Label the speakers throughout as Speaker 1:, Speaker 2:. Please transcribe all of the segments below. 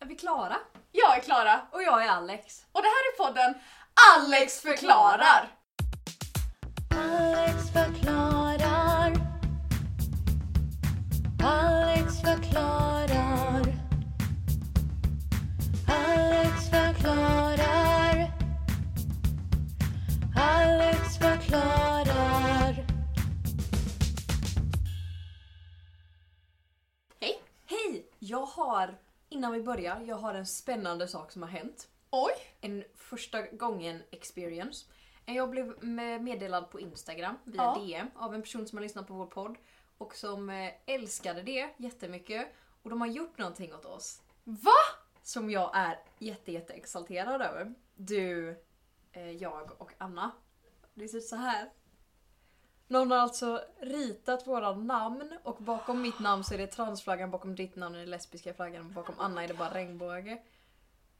Speaker 1: Är vi klara?
Speaker 2: Jag är Klara
Speaker 1: Och jag är Alex.
Speaker 2: och det här är podden Alex förklarar!
Speaker 3: Alex förklarar. Alex förklarar. Alex förklarar. Alex förklarar.
Speaker 2: Hej!
Speaker 1: Hej! Jag har, innan vi börjar, jag har en spännande sak som har hänt.
Speaker 2: Oj!
Speaker 1: En första gången experience. Eh, Jag blev med- meddelad på Instagram via
Speaker 2: Ja.
Speaker 1: DM av en person som har lyssnat på vår podd och som eh, älskade det jättemycket. Och de har gjort någonting åt oss
Speaker 2: Va?
Speaker 1: som jag är jätte, jätte exalterad över. Du, eh, jag och Anna. Det ser ut så här. Någon har alltså ritat våra namn och bakom mitt namn så är det transflaggan, bakom ditt namn är det lesbiska flaggan och bakom Anna är det bara regnbåge.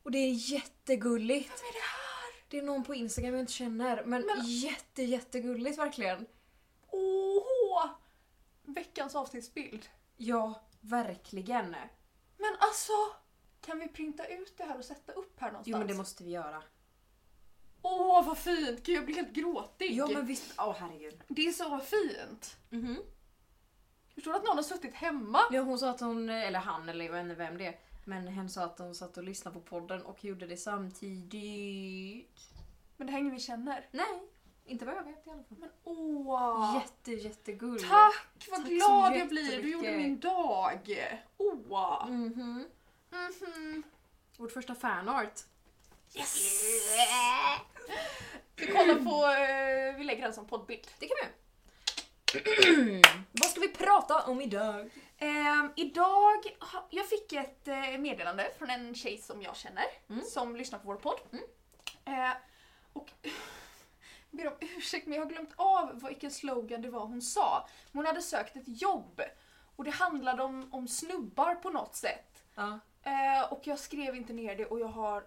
Speaker 1: Och det är jättegulligt. Vem är det här? Det är någon på Instagram jag inte känner men,
Speaker 2: Men-
Speaker 1: jätte jättegulligt verkligen.
Speaker 2: Åh! Veckans avsnittsbild.
Speaker 1: Ja, verkligen.
Speaker 2: Men alltså! Kan vi printa ut det här och sätta upp här någonstans?
Speaker 1: Jo men det måste vi göra.
Speaker 2: Åh vad fint! Gud jag blir helt gråtig.
Speaker 1: Ja men visst, åh herregud.
Speaker 2: Det är så fint!
Speaker 1: Mhm.
Speaker 2: Förstår du att någon har suttit hemma?
Speaker 1: Ja, hon sa att hon, eller han eller jag vet inte vem det är, men hen sa att hon satt och lyssnade på podden och gjorde det samtidigt.
Speaker 2: Men det här är ingen vi känner.
Speaker 1: Nej, inte vad jag vet i alla fall.
Speaker 2: Men åh!
Speaker 1: Jätte, jättegulligt.
Speaker 2: Tack! Vad
Speaker 1: Tack så
Speaker 2: glad jag blir! Du gjorde
Speaker 1: jättemycket.
Speaker 2: min dag! Åh!
Speaker 1: Mhm.
Speaker 2: Mhm.
Speaker 1: Vårt första fanart.
Speaker 2: Yes! Vi kollar på, eh, vi lägger den som poddbild.
Speaker 1: Det kan vi göra. Vad ska vi prata om idag?
Speaker 2: Ehm, idag, ha- jag fick ett eh, meddelande från en tjej som jag känner
Speaker 1: Mm.
Speaker 2: som lyssnar på vår podd. Eh, och jag ber om ursäkt men jag har glömt av vad- vilken slogan det var hon sa. Men hon hade sökt ett jobb och det handlade om, om snubbar på något sätt.
Speaker 1: Ja.
Speaker 2: Eh, och jag skrev inte ner det och jag har...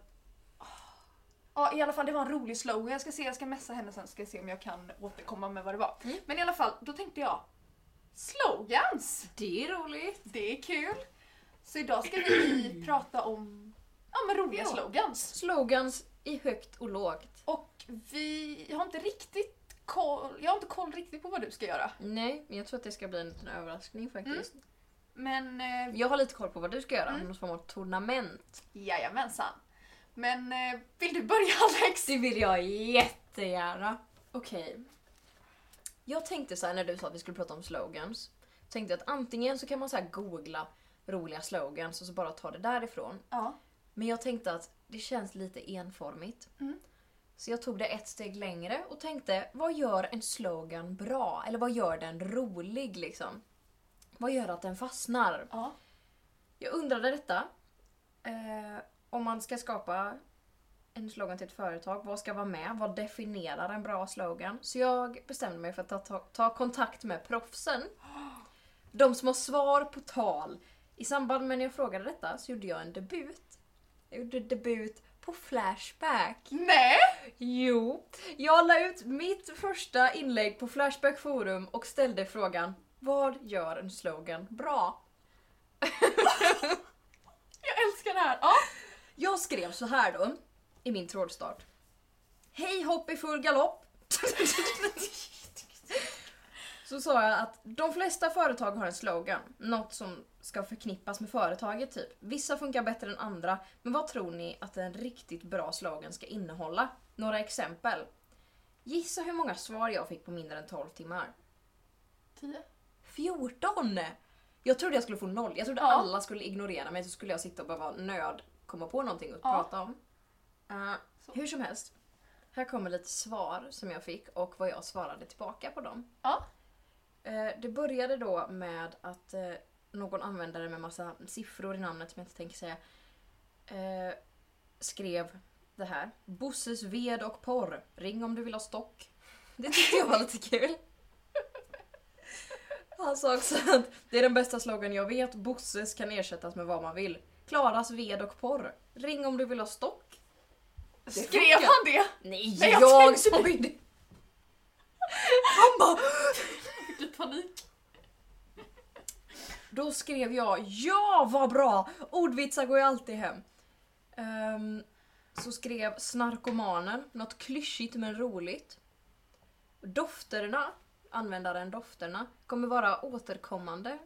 Speaker 2: Ah. Ja i alla fall det var en rolig slogan. Jag ska se, jag ska messa henne sen ska jag se om jag kan återkomma med vad det var.
Speaker 1: Mm.
Speaker 2: Men i alla fall, då tänkte jag slogans!
Speaker 1: Det är roligt.
Speaker 2: Det är kul! Så idag ska vi prata om ja, men roliga
Speaker 1: Ja.
Speaker 2: slogans.
Speaker 1: Slogans i högt och lågt.
Speaker 2: Och vi jag har inte riktigt koll, jag har inte koll riktigt på vad du ska göra.
Speaker 1: Nej, men jag tror att det ska bli en liten överraskning faktiskt.
Speaker 2: Men eh,
Speaker 1: Jag har lite koll på vad du ska göra,
Speaker 2: Mm.
Speaker 1: någon form av tornament.
Speaker 2: jajamensan. Men eh, vill du börja Alex?
Speaker 1: Det vill jag jättegärna. Okej. Jag tänkte så här när du sa att vi skulle prata om slogans. Tänkte att antingen så kan man så här googla roliga slogans och så bara ta det därifrån.
Speaker 2: Ja.
Speaker 1: Men jag tänkte att det känns lite enformigt.
Speaker 2: Mm.
Speaker 1: Så jag tog det ett steg längre och tänkte, vad gör en slogan bra? Eller vad gör den rolig liksom? Vad gör att den fastnar?
Speaker 2: ja.
Speaker 1: Jag undrade detta. Eh, om man ska skapa en slogan till ett företag, vad ska vara med? Vad definierar en bra slogan? Så jag bestämde mig för att ta, ta, ta kontakt med proffsen. De som har svar på tal. I samband med när jag frågade detta så gjorde jag en debut. Jag gjorde debut på Flashback.
Speaker 2: Nej!
Speaker 1: Jo, jag la ut mitt första inlägg på Flashback Forum och ställde frågan Vad gör en slogan bra?
Speaker 2: Jag älskar det här! Ja.
Speaker 1: Jag skrev så här då, i min trådstart. Hej hopp i full galopp! så sa jag att de flesta företag har en slogan, något som ska förknippas med företaget typ. Vissa funkar bättre än andra, men vad tror ni att en riktigt bra slogan ska innehålla? Några exempel. Gissa hur många svar jag fick på mindre än 12 timmar.
Speaker 2: 10.
Speaker 1: 14! Jag trodde jag skulle få noll. Jag trodde
Speaker 2: Ja.
Speaker 1: alla skulle ignorera mig så skulle jag sitta och behöva nöd komma på någonting att
Speaker 2: Ja.
Speaker 1: prata om. Eh,
Speaker 2: Så.
Speaker 1: hur som helst. Här kommer lite svar som jag fick och vad jag svarade tillbaka på dem.
Speaker 2: Ja.
Speaker 1: Eh, det började då med att eh, någon användare med massa siffror i namnet som jag inte tänker säga eh, skrev det här. Bosses ved och porr. Ring om du vill ha stock. Det tyckte jag var lite kul. Han sa Alltså också att det är den bästa slogan jag vet. Bosses kan ersättas med vad man vill. Klaras ved och porr. Ring om du vill ha stock.
Speaker 2: Skrev
Speaker 1: funkar.
Speaker 2: han det?
Speaker 1: Nej,
Speaker 2: Nej, jag
Speaker 1: jag,
Speaker 2: tänkte-
Speaker 1: sa ju det! Han bara...
Speaker 2: Jag fick lite panik.
Speaker 1: Då skrev jag ja vad bra! Ordvitsar går ju alltid hem. Ehm, så skrev snarkomanen något klyschigt men roligt. Dofterna, användaren dofterna, kommer vara återkommande.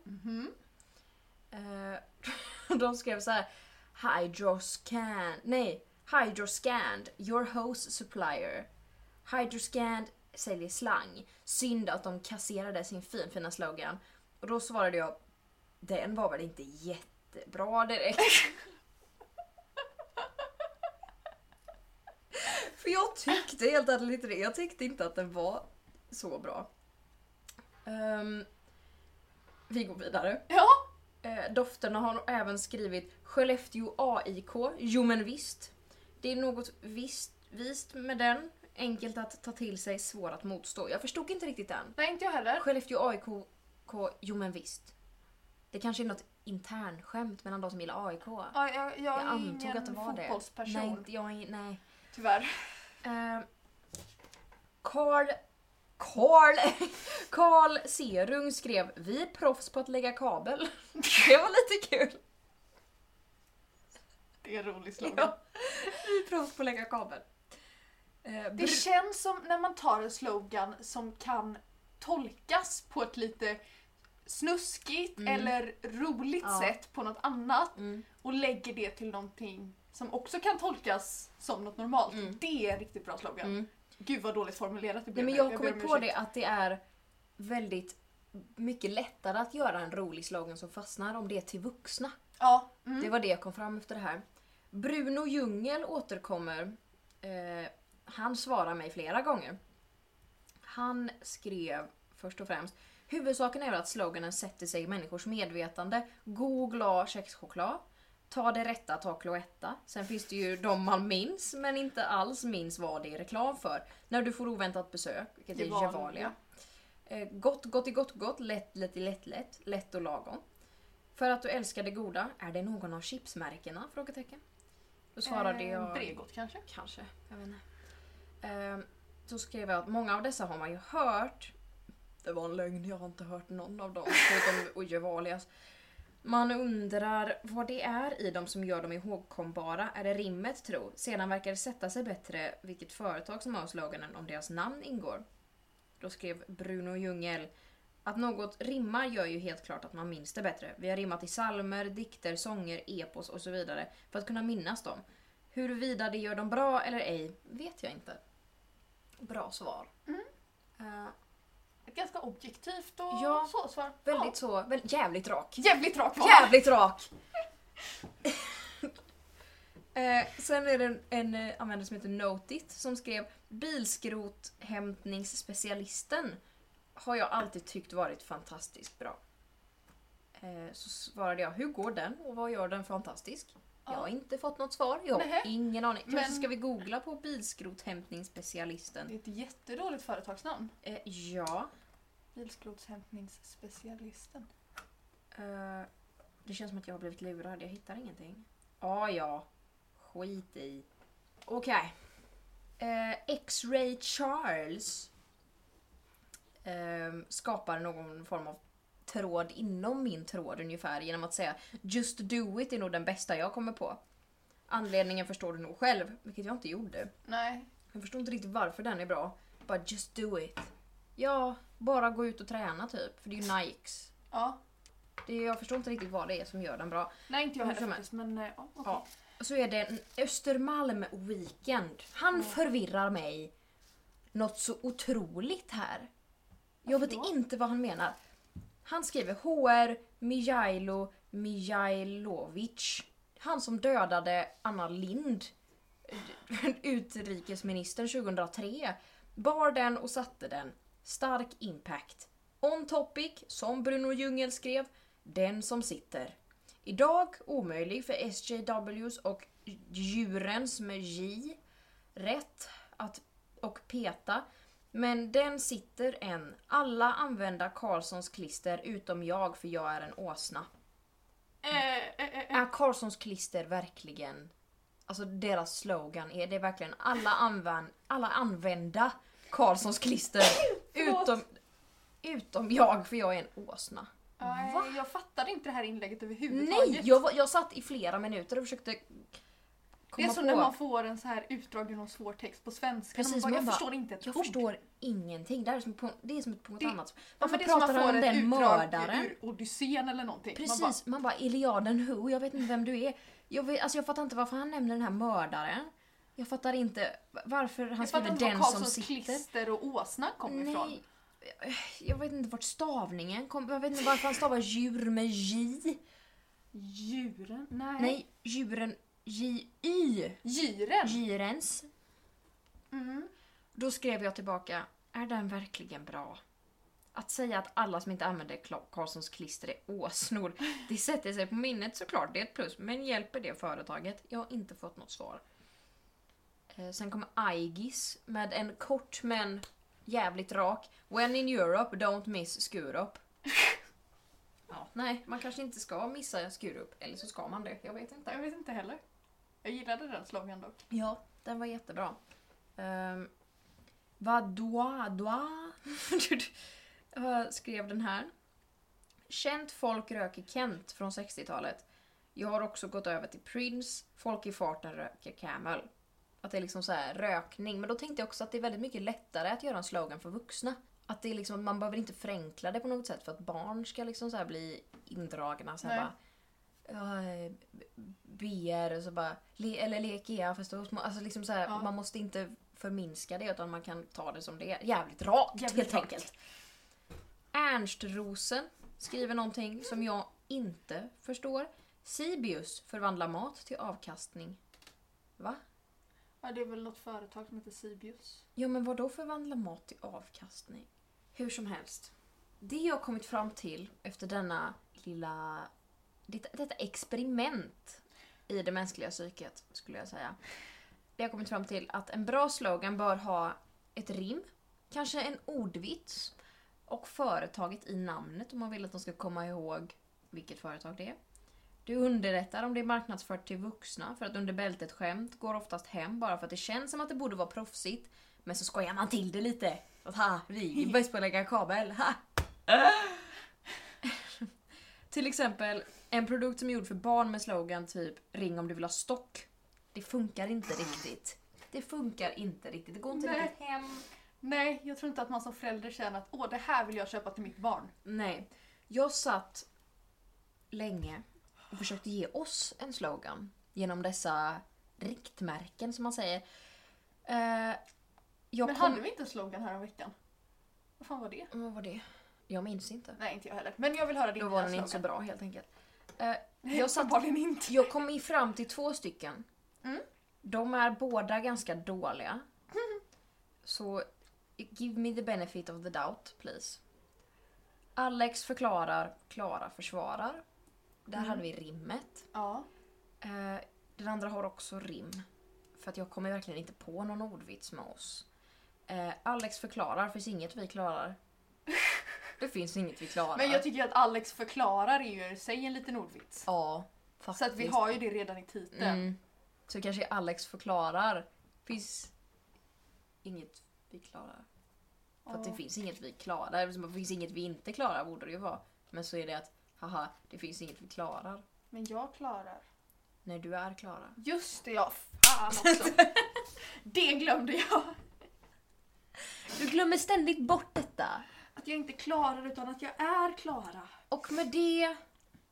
Speaker 1: Eh, de skrev så här. Hydroscan, nej, Hydroscand, your hose supplier. Hydroscand säljer slang. Synd att de kasserade sin finfina slogan. Och då svarade jag, den var väl inte jättebra direkt. För jag tyckte helt ärligt inte det. Jag tyckte inte att den var så bra. Ehm, vi går vidare.
Speaker 2: Ja.
Speaker 1: Eh, dofterna har även skrivit Skellefteå AIK. Jo men visst. Det är något visst, vist med den. Enkelt att ta till sig, svår att motstå. Jag förstod inte riktigt den.
Speaker 2: Nej, inte jag heller.
Speaker 1: Skellefteå AIK, K, jo men visst. Det kanske är något internskämt mellan de som gillar AIK.
Speaker 2: Ja, jag, jag,
Speaker 1: Jag
Speaker 2: är
Speaker 1: antog
Speaker 2: ingen
Speaker 1: att det var det.
Speaker 2: fotbollsperson,
Speaker 1: Nej, inte jag är, nej.
Speaker 2: tyvärr.
Speaker 1: Eh, Carl... Carl... Carl Serung skrev Vi är proffs på att lägga kabel. Det var lite kul.
Speaker 2: Det är en rolig slogan.
Speaker 1: Ja. Vi är proffs på att lägga kabel. Eh,
Speaker 2: Det
Speaker 1: br-
Speaker 2: känns som när man tar en slogan som kan tolkas på ett lite snuskigt
Speaker 1: Mm.
Speaker 2: eller roligt
Speaker 1: Ja.
Speaker 2: sätt på något annat
Speaker 1: mm.
Speaker 2: och lägger det till någonting som också kan tolkas som något normalt.
Speaker 1: Mm.
Speaker 2: Det är en riktigt bra slogan.
Speaker 1: Mm.
Speaker 2: Gud vad dåligt formulerat det
Speaker 1: Nej,
Speaker 2: blev.
Speaker 1: men
Speaker 2: nu.
Speaker 1: jag har
Speaker 2: ber
Speaker 1: kommit
Speaker 2: om
Speaker 1: på
Speaker 2: ursäkt.
Speaker 1: det att det är väldigt mycket lättare att göra en rolig slogan som fastnar om det är till vuxna.
Speaker 2: Ja. Mm.
Speaker 1: Det var det jag kom fram efter det här. Bruno Ljungel återkommer. Eh, han svarar mig flera gånger. Han skrev först och främst Huvudsaken är väl att sloganen sätter sig i människors medvetande. God och glad kexchoklad. Ta det rätta, ta kloetta. Sen finns det ju de man minns men inte alls minns vad det är reklam för. När du får oväntat besök, vilket är
Speaker 2: Gevalia.
Speaker 1: Gevalia. Eh, gott, gott, i gott, gott. Lätt, lätt, i lätt, lätt. Lätt och lagom. För att du älskar det goda, är det någon av chipsmärkena? Frågetecken. Då svarade
Speaker 2: Eh,
Speaker 1: jag...
Speaker 2: Bregott kanske?
Speaker 1: Kanske, jag vet inte. Ehm, så skrev jag att många av dessa har man ju hört. Det var en lögn, jag har inte hört någon av dem förutom Ojevalias. Man undrar vad det är i dem som gör dem ihågkombara. Är det rimmet tro? Sedan verkar det sätta sig bättre vilket företag som har sloganen om deras namn ingår. Då skrev Bruno Ljungel att något rimmar gör ju helt klart att man minns det bättre. Vi har rimmat i salmer, dikter, sånger, epos och så vidare för att kunna minnas dem. Huruvida det gör dem bra eller ej vet jag inte. Bra svar. Eh,
Speaker 2: Ett ganska objektivt och
Speaker 1: Ja.
Speaker 2: så svar.
Speaker 1: väldigt så, väl, jävligt rak.
Speaker 2: Ja. Jävligt rakt val.
Speaker 1: Jävligt rak! Eh, sen är det en, en eh, användare som heter Notit som skrev Bilskrothämtningsspecialisten har jag alltid tyckt varit fantastiskt bra. Eh, så svarade jag, hur går den och vad gör den fantastisk? Jag har
Speaker 2: Ja.
Speaker 1: inte fått något svar. Jag har
Speaker 2: Nähä.
Speaker 1: ingen aning. Kanske
Speaker 2: Men-
Speaker 1: ska vi googla på bilskrothämtningsspecialisten?
Speaker 2: Det är ett jättedåligt företagsnamn.
Speaker 1: Eh, ja.
Speaker 2: Bilskrotshämtningsspecialisten.
Speaker 1: Eh, det känns som att jag har blivit lurad. Jag hittar ingenting. Ah, ja. Skit i. Okej. Eh, X-Ray Charles ehm, skapar någon form av tråd inom min tråd ungefär genom att säga Just do it är nog den bästa jag kommer på. Anledningen förstår du nog själv, vilket jag inte gjorde.
Speaker 2: Nej.
Speaker 1: Jag förstår inte riktigt varför den är bra. Bara just do it. Ja, bara gå ut och träna typ. För det är ju Nikes.
Speaker 2: Ja.
Speaker 1: Det, jag förstår inte riktigt vad det är som gör den bra.
Speaker 2: Nej, inte jag
Speaker 1: Hur
Speaker 2: heller
Speaker 1: som
Speaker 2: faktiskt. Men eh, ja, okej.
Speaker 1: Ja. Och så är det en Östermalm Weekend. Han förvirrar mig något så otroligt här. Jag vet
Speaker 2: Varför då?
Speaker 1: inte vad han menar. Han skriver HR Mijailo Mijailovic. Han som dödade Anna Lind utrikesministern 2003. Bar den och satte den. Stark impact. On topic, som Bruno Ljungel skrev, den som sitter. Idag omöjlig för SJWs och djurens med J rätt att och peta. Men den sitter än. Alla använda Karlssons klister utom jag för jag är en åsna.
Speaker 2: Eh, eh, eh, eh.
Speaker 1: Är Karlssons klister verkligen... Alltså deras slogan, är det verkligen alla, använ, alla använda Karlssons klister utom, utom jag för jag är en åsna?
Speaker 2: Nej,
Speaker 1: Va?
Speaker 2: eh, Jag fattade inte det här inlägget överhuvudtaget.
Speaker 1: Nej! Jag, var, jag satt i flera minuter och försökte
Speaker 2: det är
Speaker 1: komma
Speaker 2: som
Speaker 1: på.
Speaker 2: när man får en så här utdragen och svår text på svenska.
Speaker 1: Precis,
Speaker 2: man bara,
Speaker 1: man
Speaker 2: jag
Speaker 1: bara,
Speaker 2: förstår inte ett
Speaker 1: Jag
Speaker 2: ord.
Speaker 1: förstår ingenting. Det här är som på, det är som på något
Speaker 2: Det-
Speaker 1: annat.
Speaker 2: Ja,
Speaker 1: Varför
Speaker 2: men det är som
Speaker 1: pratar
Speaker 2: man får
Speaker 1: han om
Speaker 2: ett
Speaker 1: den
Speaker 2: utdrag
Speaker 1: mördaren?
Speaker 2: Ur Odysseen eller någonting. Man
Speaker 1: Precis,
Speaker 2: bara,
Speaker 1: man bara Iliaden who, jag vet inte vem du är. Jag, vet, alltså jag fattar inte varför han nämner den här mördaren. Jag fattar inte varför han
Speaker 2: jag fattar
Speaker 1: skriver
Speaker 2: inte var
Speaker 1: den som
Speaker 2: Karlssons
Speaker 1: sitter.
Speaker 2: klister och åsnan kom ifrån.
Speaker 1: Nej, jag vet inte vart stavningen kom. Jag vet inte varför han stavar djur med J.
Speaker 2: Djuren? Nej.
Speaker 1: Nej, djuren J-Y.
Speaker 2: Djuren?
Speaker 1: Djurens.
Speaker 2: Mm.
Speaker 1: Då skrev jag tillbaka, är den verkligen bra? Att säga att alla som inte använder Kla- Karlssons klister är åsnor, det sätter sig på minnet såklart, det är ett plus. Men hjälper det företaget? Jag har inte fått något svar. Eh, Sen kommer Aigis med en kort men jävligt rak. When in Europe, don't miss Skurup. Ja, nej, man kanske inte ska missa Skurup, eller så ska man det. Jag vet inte.
Speaker 2: Jag vet inte heller. Jag gillade den slogan dock.
Speaker 1: Ja, den var jättebra. Um, Vadå, doa? Eh, skrev den här. Känt folk röker Kent från 60-talet. Jag har också gått över till Prince. Folk i farten röker Camel. Att det är liksom så här rökning. Men då tänkte jag också att det är väldigt mycket lättare att göra en slogan för vuxna. Att det är liksom, man behöver inte förenkla det på något sätt för att barn ska liksom så här bli indragna. Så här
Speaker 2: Nej.
Speaker 1: bara, ja, eh, b- BR och så bara, le, eller lek EA för stora små. Alltså liksom så här,
Speaker 2: Ja.
Speaker 1: man måste inte förminska det utan man kan ta det som det är. Jävligt rakt
Speaker 2: Jävligt
Speaker 1: helt
Speaker 2: rakt.
Speaker 1: enkelt. Ernst Rosen skriver någonting som jag inte förstår. Sibius förvandlar mat till avkastning. Va?
Speaker 2: Ja, det är väl något företag som heter Sibius.
Speaker 1: Ja, men vad då förvandla mat till avkastning? Hur som helst. Det jag kommit fram till efter denna lilla... Detta, detta experiment i det mänskliga psyket, skulle jag säga. Det jag kommit fram till att en bra slogan bör ha ett rim, kanske en ordvits och företaget i namnet om man vill att de ska komma ihåg vilket företag det är. Du underrättar om det är marknadsfört till vuxna för att under bältet skämt går oftast hem bara för att det känns som att det borde vara proffsigt men så skojar man till det lite. Att, Ha, vi är bäst på att lägga kabel. Ha. till exempel en produkt som är gjord för barn med slogan typ ring om du vill ha stock. Det funkar inte riktigt. Det funkar inte riktigt. Det går inte
Speaker 2: Nej.
Speaker 1: riktigt hem.
Speaker 2: Nej, jag tror inte att man som förälder känner att åh, det här vill jag köpa till mitt barn.
Speaker 1: Nej. Jag satt länge och försökte ge oss en slogan genom dessa riktmärken som man säger. Eh, jag
Speaker 2: Men
Speaker 1: kom...
Speaker 2: hade vi inte en slogan här om veckan? Vad fan var det?
Speaker 1: Vad var det? Jag minns inte.
Speaker 2: Nej, inte jag heller. Men jag vill höra din
Speaker 1: Då
Speaker 2: nya
Speaker 1: var den inte så
Speaker 2: slogan.
Speaker 1: bra helt enkelt. Eh,
Speaker 2: Nej,
Speaker 1: jag satt
Speaker 2: uppenbarligen inte.
Speaker 1: Jag kom ju fram till två stycken.
Speaker 2: Mm.
Speaker 1: De är båda ganska dåliga. Så give me the benefit of the doubt, please. Alex förklarar, Klara försvarar. Där
Speaker 2: Mm.
Speaker 1: hade vi rimmet.
Speaker 2: Ja.
Speaker 1: Eh, den andra har också rim. För att jag kommer verkligen inte på någon ordvits med oss. Eh, Alex förklarar, finns inget vi klarar. Det finns inget vi klarar.
Speaker 2: Men jag tycker att Alex förklarar är ju i sig en liten ordvits.
Speaker 1: ja, faktiskt.
Speaker 2: Så att vi har ju det redan i titeln.
Speaker 1: Mm. Så kanske Alex förklarar. Finns inget vi klarar. För att det
Speaker 2: Ja.
Speaker 1: finns inget vi klarar. Eller som att Det finns inget vi inte klarar borde det ju vara. Men så är det att haha, det finns inget vi klarar.
Speaker 2: Men jag klarar.
Speaker 1: När du är Klara.
Speaker 2: Just det, ja. Fan också. det glömde jag.
Speaker 1: Du glömmer ständigt bort detta.
Speaker 2: Att jag inte klarar utan att jag är Klara.
Speaker 1: Och med det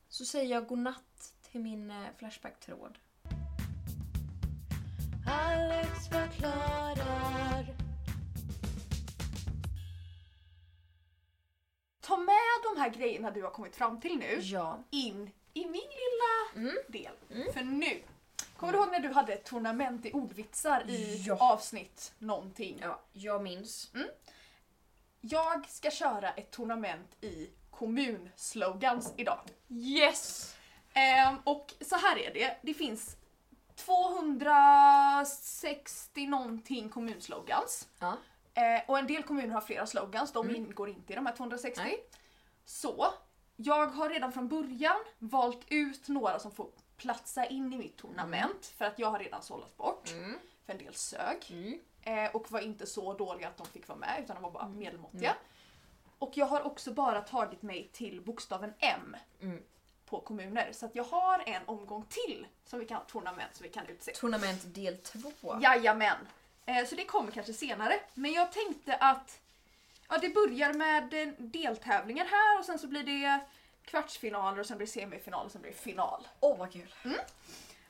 Speaker 1: så säger jag godnatt till min eh, Flashback-tråd.
Speaker 4: Alex förklarar.
Speaker 2: Ta med de här grejerna du har kommit fram till nu
Speaker 1: Ja.
Speaker 2: in i min lilla
Speaker 1: Mm.
Speaker 2: del. För nu. Kommer du ihåg när du hade ett tornament i ordvitsar i
Speaker 1: Ja.
Speaker 2: avsnitt någonting?
Speaker 1: ja, jag minns. Mm.
Speaker 2: Jag ska köra ett tornament i kommunslogans idag.
Speaker 1: Yes!
Speaker 2: Ehm, och så här är det, det finns 260 någonting kommunslogans.
Speaker 1: Ja.
Speaker 2: Eh, och en del kommuner har flera slogans, de ingår inte i de här 260.
Speaker 1: Mm. Nej.
Speaker 2: Så, jag har redan från början valt ut några som får platsa in i mitt tornament för att jag har redan sållat bort.
Speaker 1: Mm.
Speaker 2: För en del sög
Speaker 1: Mm. Mm.
Speaker 2: eh, och var inte så dåliga att de fick vara med utan de var bara medelmåttiga. Och jag har också bara tagit mig till bokstaven M
Speaker 1: Mm.
Speaker 2: på kommuner. Så att jag har en omgång till som vi kan ha tournament som vi kan utse.
Speaker 1: Tournament del 2.
Speaker 2: Jajamän! Eh, så det kommer kanske senare. Men jag tänkte att ja, det börjar med eh, deltävlingar här och sen så blir det kvartsfinaler och sen blir det semifinal och sen blir det final.
Speaker 1: Åh vad kul!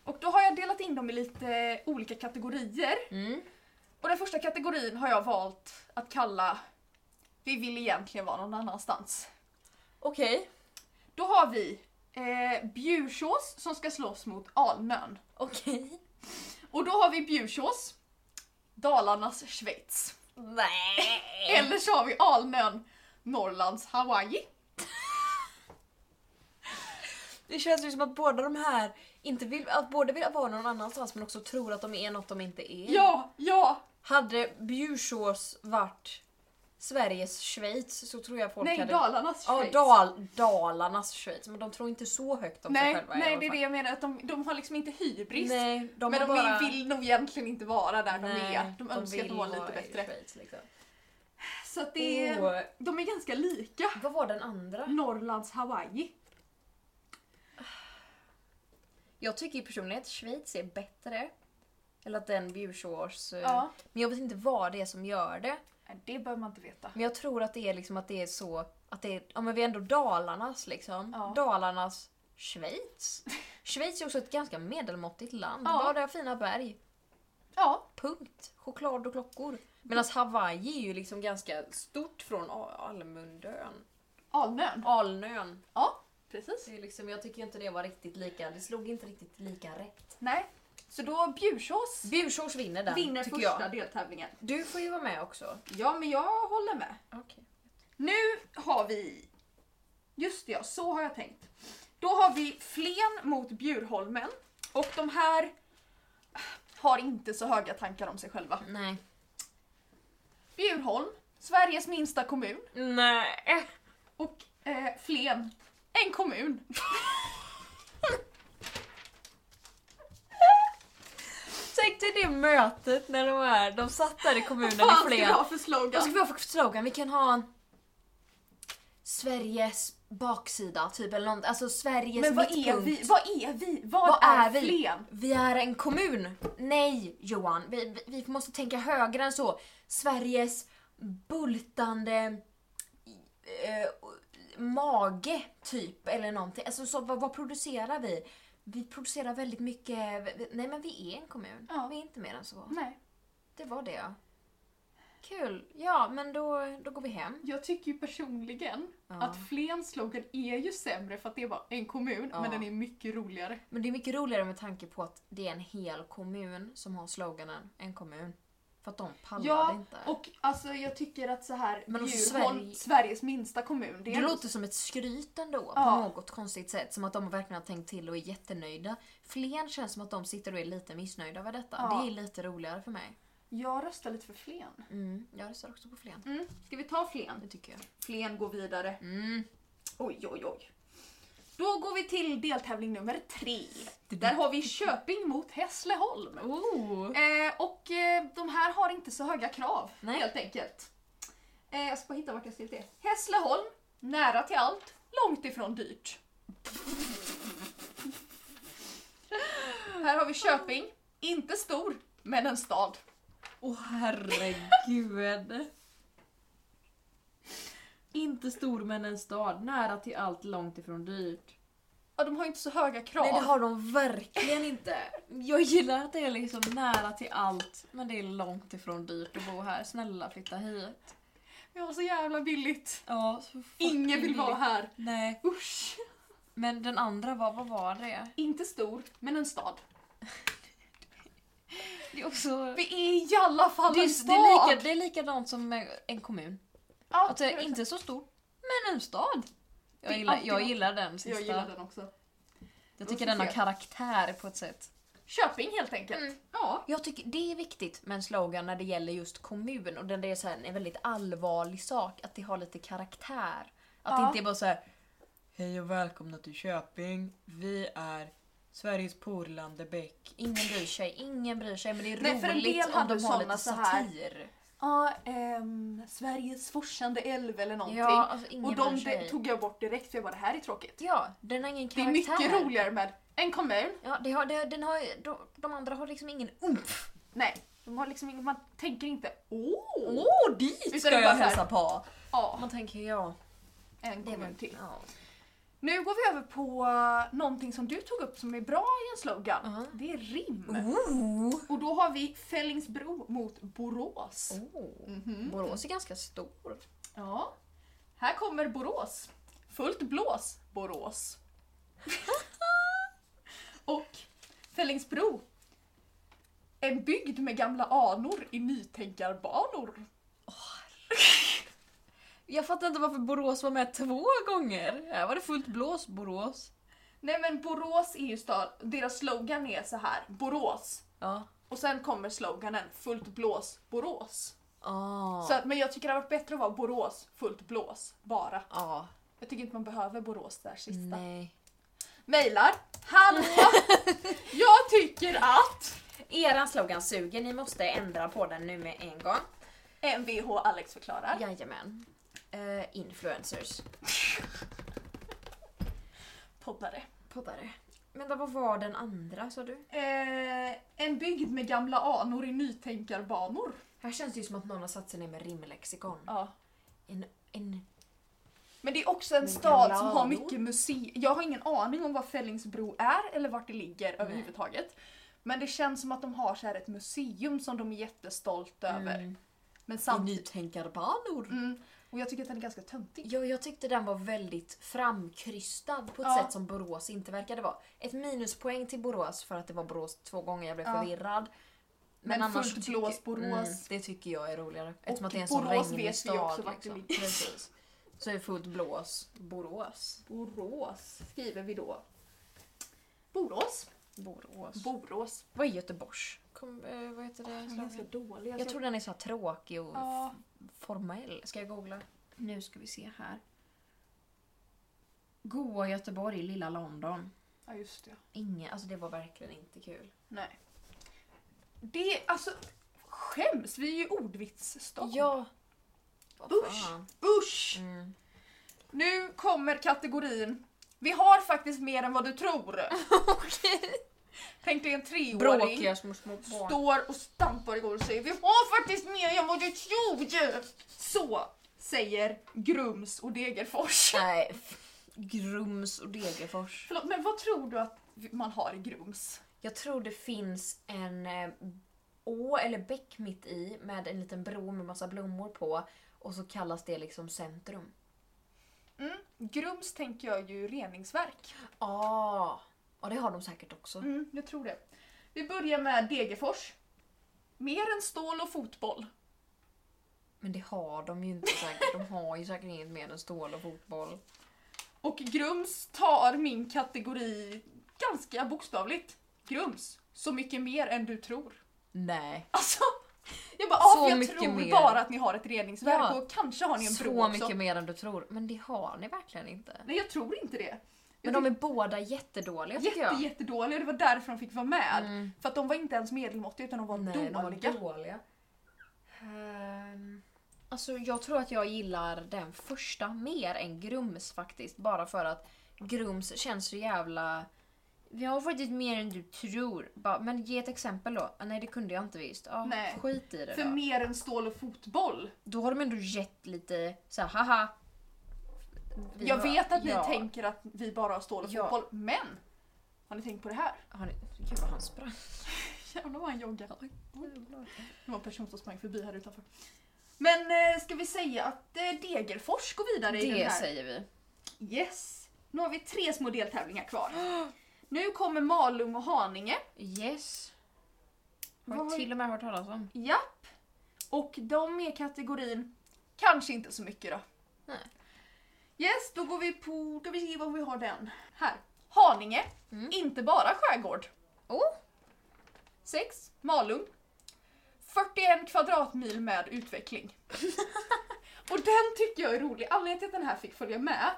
Speaker 2: Och då har jag delat in dem i lite olika kategorier.
Speaker 1: Mm.
Speaker 2: Och den första kategorin har jag valt att kalla Vi vill egentligen vara någon annanstans.
Speaker 1: Okej,
Speaker 2: Då har vi eh, Bjursås som ska slåss mot Alnön.
Speaker 1: okej.
Speaker 2: Och då har vi Bjursås, Dalarnas Schweiz.
Speaker 1: Nej!
Speaker 2: Eller så har vi Alnön, Norrlands Hawaii.
Speaker 1: Det känns ju som att båda de här inte vill, att båda vill vara någon annanstans men också tror att de är något de inte är.
Speaker 2: Ja, ja!
Speaker 1: Hade Bjursås varit Sveriges Schweiz så tror jag folk
Speaker 2: Nej,
Speaker 1: hade...
Speaker 2: Dalarnas
Speaker 1: Ja,
Speaker 2: Schweiz.
Speaker 1: dal, Dalarnas Schweiz. Men de tror inte så högt om sig
Speaker 2: nej,
Speaker 1: själva i
Speaker 2: nej,
Speaker 1: alla
Speaker 2: det är
Speaker 1: fall.
Speaker 2: det jag menar. Att de, de har liksom inte hybris.
Speaker 1: Nej, de
Speaker 2: men
Speaker 1: har
Speaker 2: de
Speaker 1: bara...
Speaker 2: vill nog egentligen inte vara där
Speaker 1: Nej,
Speaker 2: de är. De önskar att
Speaker 1: vill
Speaker 2: de var lite
Speaker 1: vara i
Speaker 2: bättre.
Speaker 1: Schweiz, liksom.
Speaker 2: Så att det är...
Speaker 1: Åh,
Speaker 2: De är ganska lika.
Speaker 1: vad var den andra?
Speaker 2: Norrlands Hawaii.
Speaker 1: Jag tycker personligen att Schweiz är bättre. Eller att den Bjursås... eh,
Speaker 2: Ja.
Speaker 1: Men jag vet inte vad det är som gör det.
Speaker 2: Nej, Det behöver man inte veta.
Speaker 1: Men jag tror att det är liksom att det är så att det är, ja men vi är ändå Dalarnas liksom.
Speaker 2: Ja.
Speaker 1: Dalarnas Schweiz. Schweiz är också ett ganska medelmåttigt land.
Speaker 2: Ja.
Speaker 1: Bara fina berg.
Speaker 2: Ja,
Speaker 1: Punkt. Choklad och klockor. Medan Hawaii är ju liksom ganska stort från A- Almundön.
Speaker 2: Alnön.
Speaker 1: Alnön.
Speaker 2: Ja, precis.
Speaker 1: Det är liksom, jag tycker inte det var riktigt lika, det slog inte riktigt lika rätt.
Speaker 2: Nej. Så då Bjursås
Speaker 1: Bjursås vinner den,
Speaker 2: vinner
Speaker 1: tycker
Speaker 2: första
Speaker 1: jag.
Speaker 2: deltävlingen.
Speaker 1: Du får ju vara med också.
Speaker 2: Ja, men jag håller med.
Speaker 1: Okay.
Speaker 2: Nu har vi... Just det, ja, så har jag tänkt. Då har vi Flen mot Bjurholmen. Och de här ah, har inte så höga tankar om sig själva.
Speaker 1: Nej.
Speaker 2: Bjurholm, Sveriges minsta kommun.
Speaker 1: Nej.
Speaker 2: Och eh, Flen, en kommun.
Speaker 1: Tänk dig det mötet när de är, de satt där i kommunen i
Speaker 2: ska vi
Speaker 1: Flen.
Speaker 2: ha för
Speaker 1: Vad
Speaker 2: slogan?
Speaker 1: ska vi ha för slogan? Vi kan ha en... Sveriges baksida, typ eller något. Alltså Sveriges
Speaker 2: Men vad är
Speaker 1: mittpunkt.
Speaker 2: vi? Vad är vi? Vad,
Speaker 1: Vad
Speaker 2: är,
Speaker 1: är vi?
Speaker 2: Flen?
Speaker 1: Vi är en kommun. Nej Johan, vi, vi- vi måste tänka högre än så. Sveriges bultande eh, mage typ eller någonting. Alltså så, vad, vad producerar vi? Vi producerar väldigt mycket, nej men vi är en kommun.
Speaker 2: Ja.
Speaker 1: Vi är inte mer än så.
Speaker 2: Nej,
Speaker 1: Det var det ja. Kul. Ja men då, då går vi hem.
Speaker 2: jag tycker ju personligen
Speaker 1: Ja.
Speaker 2: att Flens slogan är ju sämre för att det är bara en kommun,
Speaker 1: Ja.
Speaker 2: men den är mycket roligare.
Speaker 1: Men det är mycket roligare med tanke på att det är en hel kommun som har sloganen en kommun. För att de pallade
Speaker 2: Ja,
Speaker 1: inte.
Speaker 2: och alltså jag tycker att så här
Speaker 1: Men också
Speaker 2: Bjurholm,
Speaker 1: Sverige-
Speaker 2: Sveriges minsta kommun, det
Speaker 1: det
Speaker 2: är
Speaker 1: låter som ett skryt ändå
Speaker 2: Ja.
Speaker 1: på något konstigt sätt. Som att de verkligen har tänkt till och är jättenöjda. Flen känns som att de sitter och är lite missnöjda över detta.
Speaker 2: Ja.
Speaker 1: Det är lite roligare för mig.
Speaker 2: Jag röstar lite för Flen.
Speaker 1: Mm, jag röstar också på Flen.
Speaker 2: Mm. Ska vi ta Flen?
Speaker 1: Det tycker jag.
Speaker 2: Flen går vidare.
Speaker 1: Mm.
Speaker 2: Oj, oj, oj. Då går vi till deltävling nummer tre. Där har vi Köping mot Hässleholm.
Speaker 1: Oh.
Speaker 2: Eh, och eh, de här har inte så höga krav
Speaker 1: Nej.
Speaker 2: helt enkelt. Eh, jag ska bara hitta vart jag skrivit det. Hässleholm, nära till allt, långt ifrån dyrt. här har vi Köping, inte stor, men en stad.
Speaker 1: Åh herregud. Inte stor men en stad, nära till allt, långt ifrån dyrt.
Speaker 2: Ja, de har inte så höga krav.
Speaker 1: Nej det har de verkligen inte. Jag gillar att det är liksom nära till allt men det är långt ifrån dyrt att bo här. Snälla flytta hit.
Speaker 2: Vi har så jävla billigt.
Speaker 1: Ja, så
Speaker 2: Ingen vill vara här.
Speaker 1: Nej.
Speaker 2: Usch.
Speaker 1: Men den andra var, vad var det?
Speaker 2: Inte stor, men en stad.
Speaker 1: Det är också...
Speaker 2: Vi är i alla fall
Speaker 1: Det är,
Speaker 2: en
Speaker 1: det,
Speaker 2: stad!
Speaker 1: är lika, det är likadant som med en kommun.
Speaker 2: ja,
Speaker 1: Att det är inte så stor, men en stad.
Speaker 2: Det
Speaker 1: Jag
Speaker 2: är
Speaker 1: gillar,
Speaker 2: alltid
Speaker 1: jag
Speaker 2: något.
Speaker 1: gillar den sista.
Speaker 2: Jag gillar den också.
Speaker 1: Jag tycker den har
Speaker 2: Fel.
Speaker 1: karaktär på ett sätt.
Speaker 2: Köping helt enkelt.
Speaker 1: Mm.
Speaker 2: Ja.
Speaker 1: Jag tycker det är viktigt med en slogan när det gäller just kommun och den det är så här, en väldigt allvarlig sak, att det har lite karaktär. Att det
Speaker 2: Ja.
Speaker 1: inte är bara så här. Hej och välkomna till Köping. Vi är Sveriges porlande bäck. Ingen bryr sig, ingen bryr sig men det är
Speaker 2: Nej, för en
Speaker 1: roligt
Speaker 2: del
Speaker 1: om
Speaker 2: hade
Speaker 1: de har
Speaker 2: såna
Speaker 1: lite
Speaker 2: så här-
Speaker 1: satir.
Speaker 2: ja, ehm, Sveriges forsande älv eller någonting.
Speaker 1: Ja, alltså ingen
Speaker 2: och de
Speaker 1: människa
Speaker 2: de-
Speaker 1: i.
Speaker 2: tog jag bort direkt för jag bara det här är tråkigt.
Speaker 1: Ja, den har ingen
Speaker 2: Det är
Speaker 1: karaktär.
Speaker 2: mycket roligare med en kommun.
Speaker 1: Ja, det har, det, den har, de, de andra har liksom ingen umf.
Speaker 2: Nej, de har liksom ingen, man tänker inte åh!
Speaker 1: Åh, dit
Speaker 2: Utan det är bara så här-
Speaker 1: på!
Speaker 2: Ja,
Speaker 1: Man tänker ja.
Speaker 2: en
Speaker 1: Det var,
Speaker 2: kommun till.
Speaker 1: ja.
Speaker 2: Nu går vi över på eh, någonting som du tog upp som är bra i en slogan.
Speaker 1: Ja. Uh-huh.
Speaker 2: Det är rim.
Speaker 1: Ooh.
Speaker 2: Och då har vi Fällingsbro mot Borås.
Speaker 1: Oh.
Speaker 2: Mhm.
Speaker 1: Borås är ganska stor.
Speaker 2: Ja. Här kommer Borås. Fullt blås, Borås. Och Fällingsbro. En bygd med gamla anor i nytänkarbanor.
Speaker 1: Jag fattar inte varför Borås var med två gånger. Här var det fullt blås Borås.
Speaker 2: Nej men Borås är ju stad, deras slogan är så här Borås.
Speaker 1: Ja.
Speaker 2: Och sen kommer sloganen fullt blås, Borås.
Speaker 1: Ah.
Speaker 2: Så, att- men jag tycker det hade varit bättre att vara Borås, fullt blås, bara.
Speaker 1: Ja.
Speaker 2: Jag tycker inte man behöver Borås där sista.
Speaker 1: Nej.
Speaker 2: Mailar. Hallå! jag tycker att
Speaker 5: Eran slogan suger, ni måste ändra på den nu med en gång.
Speaker 2: MVH Alex förklarar.
Speaker 1: Jajamän. Eh, influencers.
Speaker 2: Poddare.
Speaker 1: Poddare. Men vad var den andra sa du?
Speaker 2: Eh, en bygd med gamla anor i nytänkarbanor.
Speaker 1: Här känns det ju som att någon har satt sig ner med rimlexikon.
Speaker 2: Ja.
Speaker 1: En, en...
Speaker 2: Men det är också en
Speaker 1: Med
Speaker 2: stad
Speaker 1: gamla
Speaker 2: som har
Speaker 1: anor.
Speaker 2: mycket museer. Jag har ingen aning om vad Fällingsbro är eller vart det ligger överhuvudtaget. Men det känns som att de har så här ett museum som de är jättestolta över. Men samtidigt...
Speaker 1: nytänkarbanor.
Speaker 2: Mm, och jag tycker att den är ganska töntig.
Speaker 1: Ja, jag tyckte den var väldigt framkrystad på ett
Speaker 2: Ja.
Speaker 1: sätt som Borås inte verkade vara. Ett minuspoäng till Borås för att det var Borås två gånger, jag blev
Speaker 2: Ja.
Speaker 1: förvirrad.
Speaker 2: Men fullt blås Borås.
Speaker 1: Mm, det tycker jag är roligare. Eftersom
Speaker 2: Och
Speaker 1: att det är en sån
Speaker 2: Borås
Speaker 1: regnig
Speaker 2: vet vi ju
Speaker 1: stad.
Speaker 2: också vart det
Speaker 1: liksom.
Speaker 2: ligger.
Speaker 1: Precis. Så är det fullt blås Borås.
Speaker 2: Borås skriver vi då. Borås.
Speaker 1: Borås.
Speaker 2: Borås.
Speaker 1: vad är Göteborgs? Kom, eh, vad heter det?
Speaker 2: Den är ganska dålig.
Speaker 1: Jag tror den är så här tråkig och
Speaker 2: Ja.
Speaker 1: formell. Ska jag googla? Nu ska vi se här. Goa Göteborg, lilla London.
Speaker 2: Ja, just det.
Speaker 1: Inget, alltså det var verkligen inte kul.
Speaker 2: Nej. Det, alltså, skäms! Vi är ju ordvitsstad.
Speaker 1: Ja.
Speaker 2: Usch! Usch!
Speaker 1: Mm.
Speaker 2: Nu kommer kategorin Vi har faktiskt mer än vad du tror. Tänk dig en treåring
Speaker 1: Bråkiga små, små barn.
Speaker 2: står och stampar i golvet och säger Vi har faktiskt mer än vad du tror. Så säger Grums och Degerfors.
Speaker 1: Nej. f- Grums och Degerfors.
Speaker 2: Förlåt, men vad tror du att man har i Grums?
Speaker 1: Jag tror det finns en eh, å eller bäck mitt i med en liten bro med massa blommor på och så kallas det liksom centrum.
Speaker 2: Mm. Grums tänker jag ju reningsverk.
Speaker 1: Ah. Ja, det har de säkert också.
Speaker 2: Mm, jag tror det. Vi börjar med Degerfors. Mer än stål och fotboll.
Speaker 1: Men det har de ju inte säkert. De har ju säkert inget mer än stål och fotboll.
Speaker 2: Och Grums tar min kategori ganska bokstavligt. Grums, så mycket mer än du tror.
Speaker 1: Nej.
Speaker 2: Alltså, jag bara, ah,
Speaker 1: Så
Speaker 2: för jag
Speaker 1: mycket
Speaker 2: tror
Speaker 1: mer.
Speaker 2: bara att ni har ett reningsverk
Speaker 1: Ja.
Speaker 2: och kanske har ni en bro
Speaker 1: Så
Speaker 2: också.
Speaker 1: mycket mer än du tror. Men det har ni verkligen inte.
Speaker 2: Nej, jag tror inte det.
Speaker 1: Men
Speaker 2: Jag
Speaker 1: de är båda jättedåliga tycker
Speaker 2: Jätte,
Speaker 1: jag.
Speaker 2: jättedåliga, det var därför de fick vara med.
Speaker 1: Mm.
Speaker 2: För att de var inte ens medelmåttiga utan de var
Speaker 1: Nej, de var
Speaker 2: dåliga.
Speaker 1: dåliga. Ehm, alltså jag tror att jag gillar den första mer än Grums faktiskt. Bara för att Grums känns så jävla... Vi har faktiskt mer än du tror. Bara, men ge ett exempel då. Ah, nej det kunde jag inte visst. Ah,
Speaker 2: Nej.
Speaker 1: Skit i det
Speaker 2: för
Speaker 1: då.
Speaker 2: mer än stål och fotboll.
Speaker 1: Då har de ändå gett lite så här, haha. Vi
Speaker 2: jag
Speaker 1: har-
Speaker 2: vet att ni
Speaker 1: ja.
Speaker 2: tänker att vi bara har stål och
Speaker 1: Ja.
Speaker 2: fotboll, men har ni tänkt på det här?
Speaker 1: Har ni, gud vad han sprang.
Speaker 2: Jävlar vad han joggar. Det var en person som sprang förbi här utanför. Men eh, ska vi säga att eh, Degerfors går vidare i den
Speaker 1: Det
Speaker 2: här?
Speaker 1: säger vi.
Speaker 2: Yes! Nu har vi tre små deltävlingar kvar. Nu kommer Malung och Haninge.
Speaker 1: Yes. Har
Speaker 2: Vad-
Speaker 1: jag till och med hört talas om.
Speaker 2: Japp. Och de är kategorin kanske inte så mycket då.
Speaker 1: Nej.
Speaker 2: Yes, då går vi på, ska vi se vad vi har den. Här. Haninge,
Speaker 1: Mm.
Speaker 2: inte bara skärgård.
Speaker 1: Oh.
Speaker 2: 6. Malung. 41 kvadratmil med utveckling. och den tycker jag är rolig. Anledningen till att den här fick följa med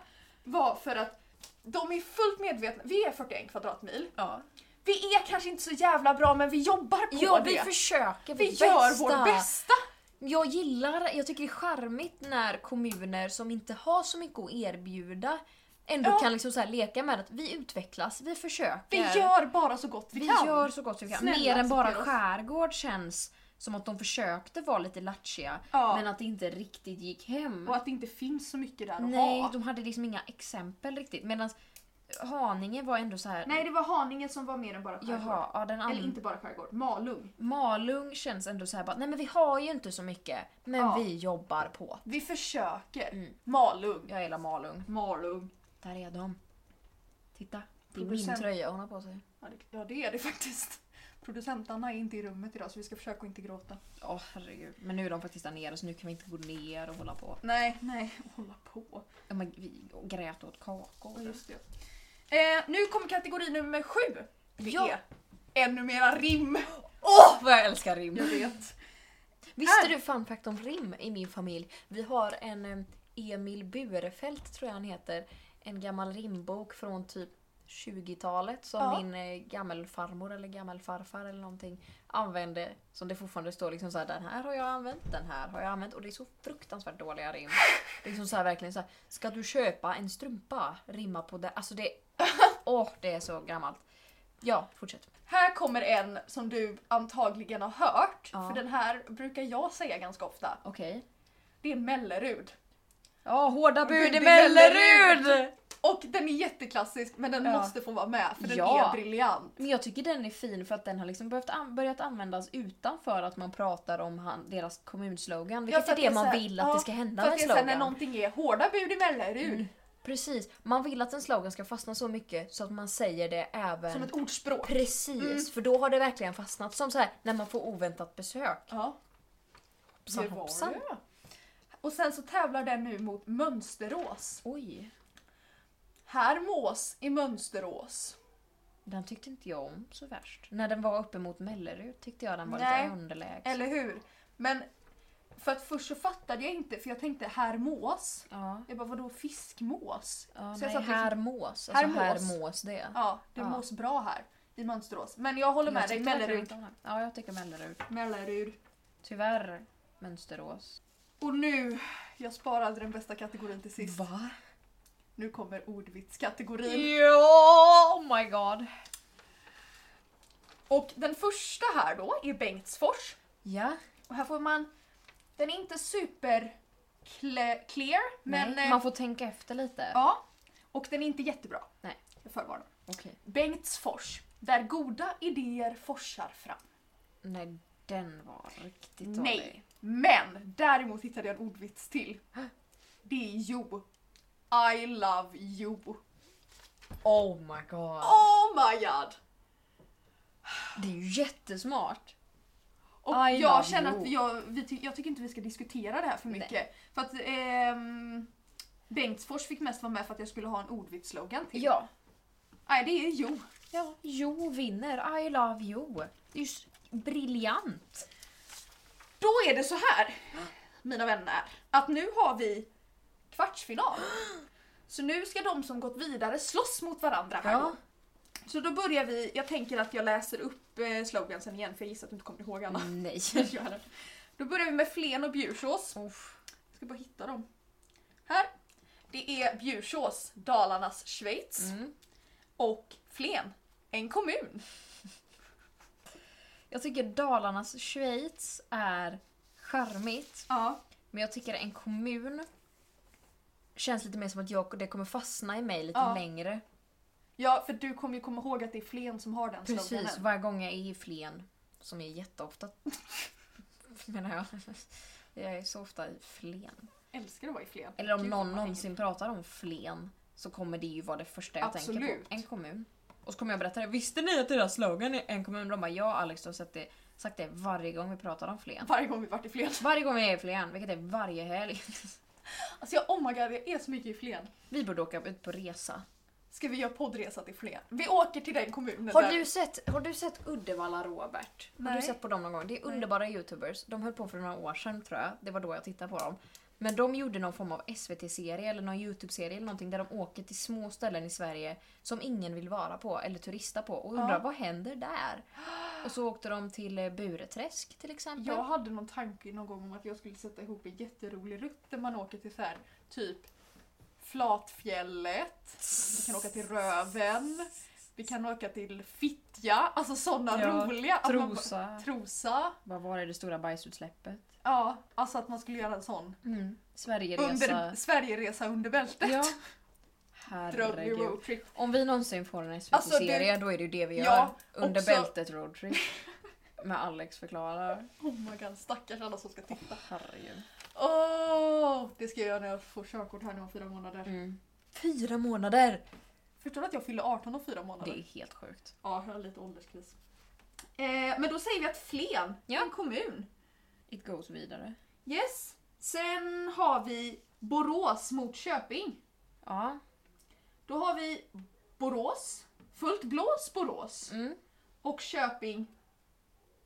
Speaker 2: var för att de är fullt medvetna. Vi är 41 kvadratmil.
Speaker 1: Ja.
Speaker 2: Vi är kanske inte så jävla bra men vi jobbar på
Speaker 1: Ja,
Speaker 2: det.
Speaker 1: vi försöker
Speaker 2: vi
Speaker 1: vårt
Speaker 2: gör vårt bästa.
Speaker 1: Jag gillar, jag tycker det är charmigt när kommuner som inte har så mycket att erbjuda ändå
Speaker 2: Ja.
Speaker 1: kan liksom så här leka med att vi utvecklas, vi försöker.
Speaker 2: Vi gör bara så gott vi,
Speaker 1: Vi
Speaker 2: kan.
Speaker 1: gör så gott vi kan.
Speaker 2: Snälla,
Speaker 1: Mer än bara
Speaker 2: acceptera oss.
Speaker 1: skärgård känns som att de försökte vara lite lattjiga
Speaker 2: Ja.
Speaker 1: men att det inte riktigt gick hem.
Speaker 2: Och att det inte finns så mycket där att
Speaker 1: Nej,
Speaker 2: ha.
Speaker 1: de hade liksom inga exempel riktigt. Medan Haninge var ändå så här.
Speaker 2: Nej, det var Haninge som var mer än bara skärgård.
Speaker 1: Jaha, ja, den
Speaker 2: Eller
Speaker 1: andra.
Speaker 2: inte bara skärgård, Malung.
Speaker 1: Malung känns ändå så här bara, nej men vi har ju inte så mycket, men
Speaker 2: Ja.
Speaker 1: vi jobbar på.
Speaker 2: Vi försöker.
Speaker 1: Mm.
Speaker 2: Malung.
Speaker 1: Jag gillar Malung.
Speaker 2: Malung.
Speaker 1: Där är de. Titta, det är min
Speaker 2: Producent.
Speaker 1: tröja hon har på sig.
Speaker 2: Ja det, ja, det är det faktiskt. Producent-Anna är inte i rummet idag så vi ska försöka att inte gråta.
Speaker 1: Åh herregud. Men nu är de faktiskt där nere så nu kan vi inte gå ner och hålla på.
Speaker 2: Nej, nej. Hålla på.
Speaker 1: Ja, men vi grät åt kakor.
Speaker 2: Ja, just det. Eh, nu kommer kategori nummer sju. Det
Speaker 1: Ja.
Speaker 2: är ännu mera rim.
Speaker 1: Åh vad jag älskar rim!
Speaker 2: Jag vet.
Speaker 1: Visste
Speaker 2: Här.
Speaker 1: du fun fact om rim i min familj? Vi har en eh, Emil Burefelt tror jag han heter. En gammal rimbok från typ 20-talet som
Speaker 2: Ja.
Speaker 1: min eh, gammelfarmor eller gammelfarfar eller någonting använde. Som det fortfarande står liksom så här, den här har jag använt, den här har jag använt. Och det är så fruktansvärt dåliga rim. Det är Liksom så här, verkligen så här, ska du köpa en strumpa? Rimma på det. Alltså det, åh det är så gammalt. Ja, fortsätt.
Speaker 2: Här kommer en som du antagligen har hört.
Speaker 1: Ja.
Speaker 2: För den här brukar jag säga ganska ofta.
Speaker 1: Okej.
Speaker 2: Det är Mellerud.
Speaker 1: Ja, hårda bud i
Speaker 2: Bud i
Speaker 1: Mellerud!
Speaker 2: Och den är jätteklassisk men den
Speaker 1: Ja.
Speaker 2: måste få vara med för den
Speaker 1: Ja.
Speaker 2: är briljant.
Speaker 1: Men jag tycker den är fin för att den har liksom behövt an- börjat användas utanför att man pratar om han, deras kommunslogan. Vilket
Speaker 2: för
Speaker 1: är
Speaker 2: att
Speaker 1: det
Speaker 2: är
Speaker 1: man
Speaker 2: så här-
Speaker 1: vill att
Speaker 2: ja,
Speaker 1: det ska hända
Speaker 2: för
Speaker 1: med
Speaker 2: att
Speaker 1: en
Speaker 2: det är så här
Speaker 1: slogan.
Speaker 2: När någonting är hårda bud i Mellerud.
Speaker 1: Precis, man vill att en slogan ska fastna så mycket så att man säger det även...
Speaker 2: Som ett Mm. ordspråk.
Speaker 1: Precis, för då har det verkligen fastnat. Som så här när man får oväntat besök.
Speaker 2: Ja,
Speaker 1: Hoppsan hoppsan.
Speaker 2: det. Och sen så tävlar den nu mot Mönsterås.
Speaker 1: Oj,
Speaker 2: Här mås i Mönsterås.
Speaker 1: den tyckte inte jag om så värst. När den var uppe mot Mellerud tyckte jag den var
Speaker 2: Nej.
Speaker 1: lite underlägsen.
Speaker 2: Eller hur? Men för att först så fattade jag inte för jag tänkte här mås.
Speaker 1: Ja.
Speaker 2: Jag bara vadå fiskmås?
Speaker 1: Ja,
Speaker 2: Så jag
Speaker 1: nej,
Speaker 2: satt liksom-
Speaker 1: här mås. Alltså
Speaker 2: Här
Speaker 1: här
Speaker 2: mås.
Speaker 1: mås det.
Speaker 2: Ja, det
Speaker 1: Ja.
Speaker 2: mås bra här i Mönsterås. Men jag håller med
Speaker 1: Jag
Speaker 2: dig,
Speaker 1: tyckte verkligen
Speaker 2: Mellerud.
Speaker 1: inte om den. Ja, jag tycker Mellerud.
Speaker 2: Mellerud.
Speaker 1: Tyvärr Mönsterås.
Speaker 2: Och nu, jag sparade den bästa kategorin till sist.
Speaker 1: Va?
Speaker 2: Nu kommer ordvitskategorin.
Speaker 1: Ja, oh my god.
Speaker 2: Och den första här då är Bengtsfors.
Speaker 1: Ja,
Speaker 2: Och här får man... Den är inte super cle- clear, men...
Speaker 1: men, nej,
Speaker 2: eh,
Speaker 1: man får tänka efter lite.
Speaker 2: Ja. Och den är inte jättebra.
Speaker 1: Nej.
Speaker 2: Jag förvarnar.
Speaker 1: Okej.
Speaker 2: Bengtsfors. Där goda idéer forsar fram.
Speaker 1: Nej, den var riktigt dålig.
Speaker 2: Nej. Men däremot hittade jag en ordvits till. Det är Jo. I love you.
Speaker 1: Oh my god.
Speaker 2: Oh my god!
Speaker 1: Det är ju jättesmart.
Speaker 2: Och
Speaker 1: I love
Speaker 2: jag känner
Speaker 1: you.
Speaker 2: att jag, vi ty- jag tycker inte vi ska diskutera det här för mycket. För att ehm, Bengtsfors fick mest vara med för att jag skulle ha en ordvitsslogan till.
Speaker 1: Ja.
Speaker 2: Nej, det är jo.
Speaker 1: ja. Jo vinner. I love you. Det är ju s- briljant.
Speaker 2: Då är det så här, mina vänner, att nu har vi kvartsfinal. Så nu ska de som gått vidare slåss mot varandra här då.
Speaker 1: Ja.
Speaker 2: Så då börjar vi, jag tänker att jag läser upp eh, slogansen igen för jag gissar att du inte kommer ihåg Anna.
Speaker 1: Nej.
Speaker 2: Jag gör det. Då börjar vi med Flen och Bjursås.
Speaker 1: Uff.
Speaker 2: Jag ska bara hitta dem. Här. Det är Bjursås, Dalarnas Schweiz.
Speaker 1: Mm.
Speaker 2: Och Flen, en kommun.
Speaker 1: Jag tycker Dalarnas Schweiz är charmigt.
Speaker 2: Ja.
Speaker 1: Men jag tycker en kommun känns lite mer som att jag, det kommer fastna i mig lite
Speaker 2: Ja.
Speaker 1: längre.
Speaker 2: Ja, för du kommer ju komma ihåg att det är Flen som har den
Speaker 1: Precis,
Speaker 2: sloganen.
Speaker 1: varje gång jag är i Flen, som är jätteofta menar jag. Jag är så ofta i Flen.
Speaker 2: Jag älskar att vara i Flen.
Speaker 1: Eller om
Speaker 2: Gud, vad
Speaker 1: någon
Speaker 2: man
Speaker 1: någonsin pratar om Flen så kommer det ju vara det första jag tänker
Speaker 2: Absolut.
Speaker 1: på. En kommun. Och så kommer jag berätta det. Visste ni att deras slogan är en kommun? De bara ja Alex, du har sett det, sagt det varje gång vi pratar om Flen.
Speaker 2: hänger. Varje gång vi varit i Flen.
Speaker 1: Varje gång vi är i Flen, vilket är varje helg.
Speaker 2: Alltså jag, oh my god, jag är så mycket i Flen.
Speaker 1: Vi borde åka ut på resa.
Speaker 2: Ska vi göra poddresa till Flen? Vi åker till den kommunen
Speaker 1: Har
Speaker 2: där.
Speaker 1: du sett, har du sett Uddevalla Robert? Har
Speaker 2: Nej.
Speaker 1: du sett på dem någon gång? Det är underbara youtubers. De höll på för några år sedan tror jag. Det var då jag tittade på dem. Men de gjorde någon form av SVT-serie eller någon YouTube-serie eller någonting där de åker till små ställen i Sverige som ingen vill vara på eller turista på och undrar
Speaker 2: Ja.
Speaker 1: vad händer där? Och så åkte de till eh, Bureträsk till exempel.
Speaker 2: Jag hade någon tanke någon gång om att jag skulle sätta ihop en jätterolig rutt där man åker till så här, typ Flatfjället, vi kan åka till Röven, vi kan åka till Fittja, alltså sådana
Speaker 1: Ja,
Speaker 2: roliga. att man bara-
Speaker 1: Trosa.
Speaker 2: Trosa.
Speaker 1: Vad var det, det stora bajsutsläppet?
Speaker 2: Ja, alltså att man skulle göra en sån
Speaker 1: Mm. Sverigeresa.
Speaker 2: under, Sverigeresa under bältet.
Speaker 1: Ja.
Speaker 2: Drömlig
Speaker 1: Herregud.
Speaker 2: roadtrip.
Speaker 1: Om vi någonsin får en
Speaker 2: Alltså, det-
Speaker 1: SVT-serie då är det ju det vi gör.
Speaker 2: Ja,
Speaker 1: Under
Speaker 2: också-
Speaker 1: bältet roadtrip. Med Alex förklarar.
Speaker 2: Oh my god, stackars alla som ska titta.
Speaker 1: Herregud.
Speaker 2: Åh, det ska jag göra när jag får körkort här nu om fyra månader.
Speaker 1: Mm. Fyra månader!
Speaker 2: Förstår du att jag fyller 18 om fyra månader?
Speaker 1: Det är helt sjukt.
Speaker 2: Ja, jag har lite ålderskris. Eh, men då säger vi att Flen,
Speaker 1: Ja.
Speaker 2: en kommun.
Speaker 1: It goes vidare.
Speaker 2: Yes. Sen har vi Borås mot Köping.
Speaker 1: Ja.
Speaker 2: Då har vi Borås, fullt blås Borås.
Speaker 1: Mm.
Speaker 2: Och Köping,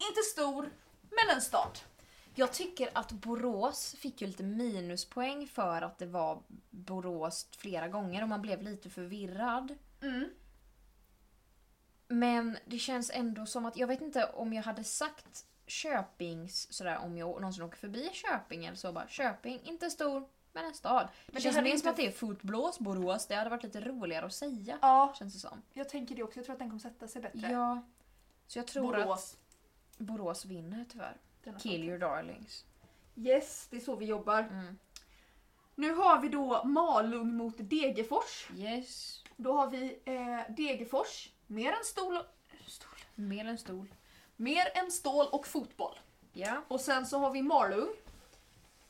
Speaker 2: inte stor, men en stad.
Speaker 1: Jag tycker att Borås fick ju lite minuspoäng för att det var Borås flera gånger och man blev lite förvirrad.
Speaker 2: Mm.
Speaker 1: Men det känns ändå som att, jag vet inte om jag hade sagt Köpings sådär om jag någonsin åker förbi Köping eller så bara Köping, inte stor men en stad. Det,
Speaker 2: det
Speaker 1: känns
Speaker 2: hade
Speaker 1: mer
Speaker 2: inte-
Speaker 1: som att det är fullt blås Borås, det hade varit lite roligare att säga.
Speaker 2: Ja,
Speaker 1: Känns det som.
Speaker 2: jag tänker det också. Jag tror att den kommer sätta sig bättre.
Speaker 1: Ja. Så jag tror att
Speaker 2: Borås.
Speaker 1: Borås vinner tyvärr.
Speaker 2: denna
Speaker 1: Kill
Speaker 2: stad.
Speaker 1: your darlings.
Speaker 2: Yes, det är så vi jobbar.
Speaker 1: Mm.
Speaker 2: Nu har vi då Malung mot Degerfors.
Speaker 1: Yes.
Speaker 2: Då har vi eh, Degerfors, mer än stol, stol,
Speaker 1: Mer än stol.
Speaker 2: mer än stål och fotboll.
Speaker 1: Ja.
Speaker 2: Och sen så har vi Malung.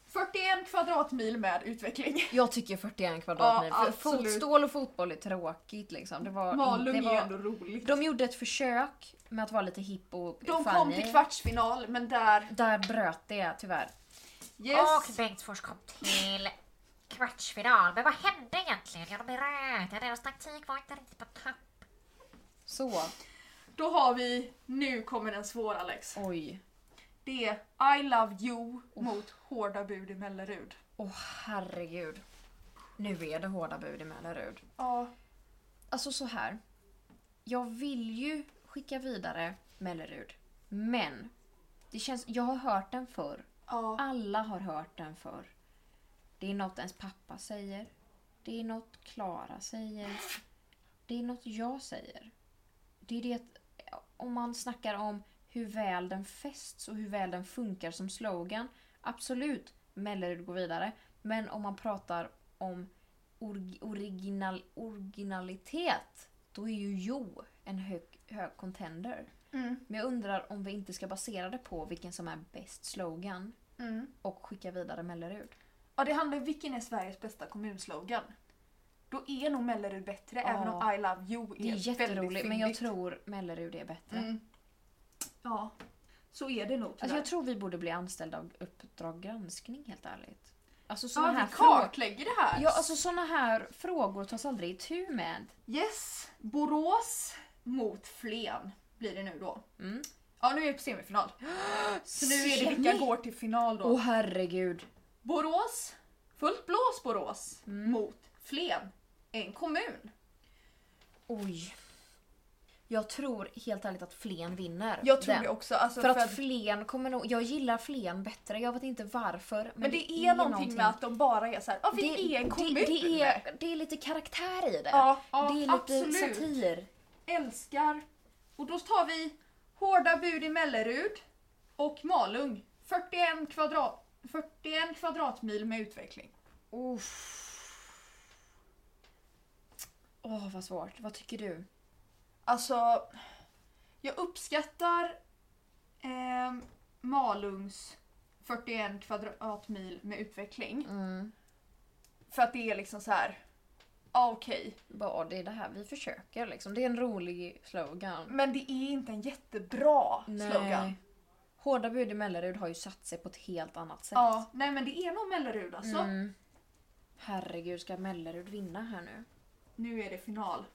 Speaker 2: 41 kvadratmil med utveckling.
Speaker 1: Jag tycker 41 kvadratmil.
Speaker 2: Ja,
Speaker 1: för fot,
Speaker 2: absolut.
Speaker 1: stål och fotboll är tråkigt liksom. Det var, det
Speaker 2: Malung är
Speaker 1: var,
Speaker 2: ändå roligt.
Speaker 1: de gjorde ett försök med att vara lite hipp och
Speaker 2: De kom
Speaker 1: funny.
Speaker 2: till kvartsfinal, men där...
Speaker 1: Där bröt det tyvärr.
Speaker 2: Yes!
Speaker 1: Ah,
Speaker 6: Och Bengtsfors kom till kvartsfinal. Men vad hände egentligen? Ja, de röda. Deras taktik var inte riktigt på topp.
Speaker 1: Så,
Speaker 2: Då har vi... Nu kommer den svåra Alex.
Speaker 1: oj.
Speaker 2: Det är I Love You mot Hårda Bud i Mellerud.
Speaker 1: Åh herregud. Nu är det hårda bud i Mellerud.
Speaker 2: Ja,
Speaker 1: Alltså så här. Jag vill ju skicka vidare Mellerud. Men det känns, jag har hört den förr.
Speaker 2: ja.
Speaker 1: Alla har hört den förr. Det är något ens pappa säger. Det är något Klara säger. Det är något jag säger. Det är det att om man snackar om hur väl den fästs och hur väl den funkar som slogan. Absolut, Mellerud går vidare. Men om man pratar om org- original, originalitet, då är ju Jo en hög, hög contender.
Speaker 2: Mm,
Speaker 1: Men jag undrar om vi inte ska basera det på vilken som är bäst slogan
Speaker 2: mm.
Speaker 1: och skicka vidare Mellerud.
Speaker 2: Ja, det handlar om vilken är Sveriges bästa kommunslogan. Då är nog Mellerud bättre,
Speaker 1: Ja.
Speaker 2: även om I Love You är,
Speaker 1: Det är
Speaker 2: väldigt
Speaker 1: jätteroligt men jag
Speaker 2: fyndigt.
Speaker 1: tror Mellerud är bättre.
Speaker 2: Mm. Ja, så är det nog
Speaker 1: Alltså
Speaker 2: tyvärr.
Speaker 1: jag tror vi borde bli anställda av Uppdrag granskning helt ärligt. Alltså såna
Speaker 2: Ja,
Speaker 1: här
Speaker 2: vi
Speaker 1: frågor.
Speaker 2: kartlägger det här.
Speaker 1: Ja, alltså såna här frågor tas aldrig itu med.
Speaker 2: Yes, Borås mot Flen blir det nu då.
Speaker 1: Mm.
Speaker 2: Ja, nu är vi på semifinal. Så nu är det vilka går till final då.
Speaker 1: Åh herregud.
Speaker 2: Borås, fullt blås Borås
Speaker 1: Mm.
Speaker 2: mot Flen, en kommun.
Speaker 1: Oj. Jag tror helt ärligt att Flen vinner.
Speaker 2: Jag tror
Speaker 1: den.
Speaker 2: det också. Alltså
Speaker 1: För att Flen kommer nog... Jag gillar Flen bättre, jag vet inte varför. Men,
Speaker 2: men det är någonting med att de bara är så här, ja vi är en kommun.
Speaker 1: Det, det, är, det är lite karaktär i det.
Speaker 2: ja, ja,
Speaker 1: det är lite
Speaker 2: absolut.
Speaker 1: satir.
Speaker 2: Älskar. Och då tar vi Hårda bud i Mellerud och Malung. 41, kvadrat, 41 kvadratmil med utveckling.
Speaker 1: Uff. Åh, vad svårt. Vad tycker du?
Speaker 2: Alltså, jag uppskattar ehm, Malungs 41 kvadratmil med utveckling.
Speaker 1: Mm.
Speaker 2: För att det är liksom så här. ja okej.
Speaker 1: Bara, det är det här vi försöker liksom. Det är en rolig slogan.
Speaker 2: Men det är inte en jättebra slogan.
Speaker 1: Hårda bud i Mellerud har ju satt sig på ett helt annat sätt.
Speaker 2: Ja, nej men det är nog Mellerud alltså.
Speaker 1: Mm. Herregud, ska Mellerud vinna här nu?
Speaker 2: Nu är det final.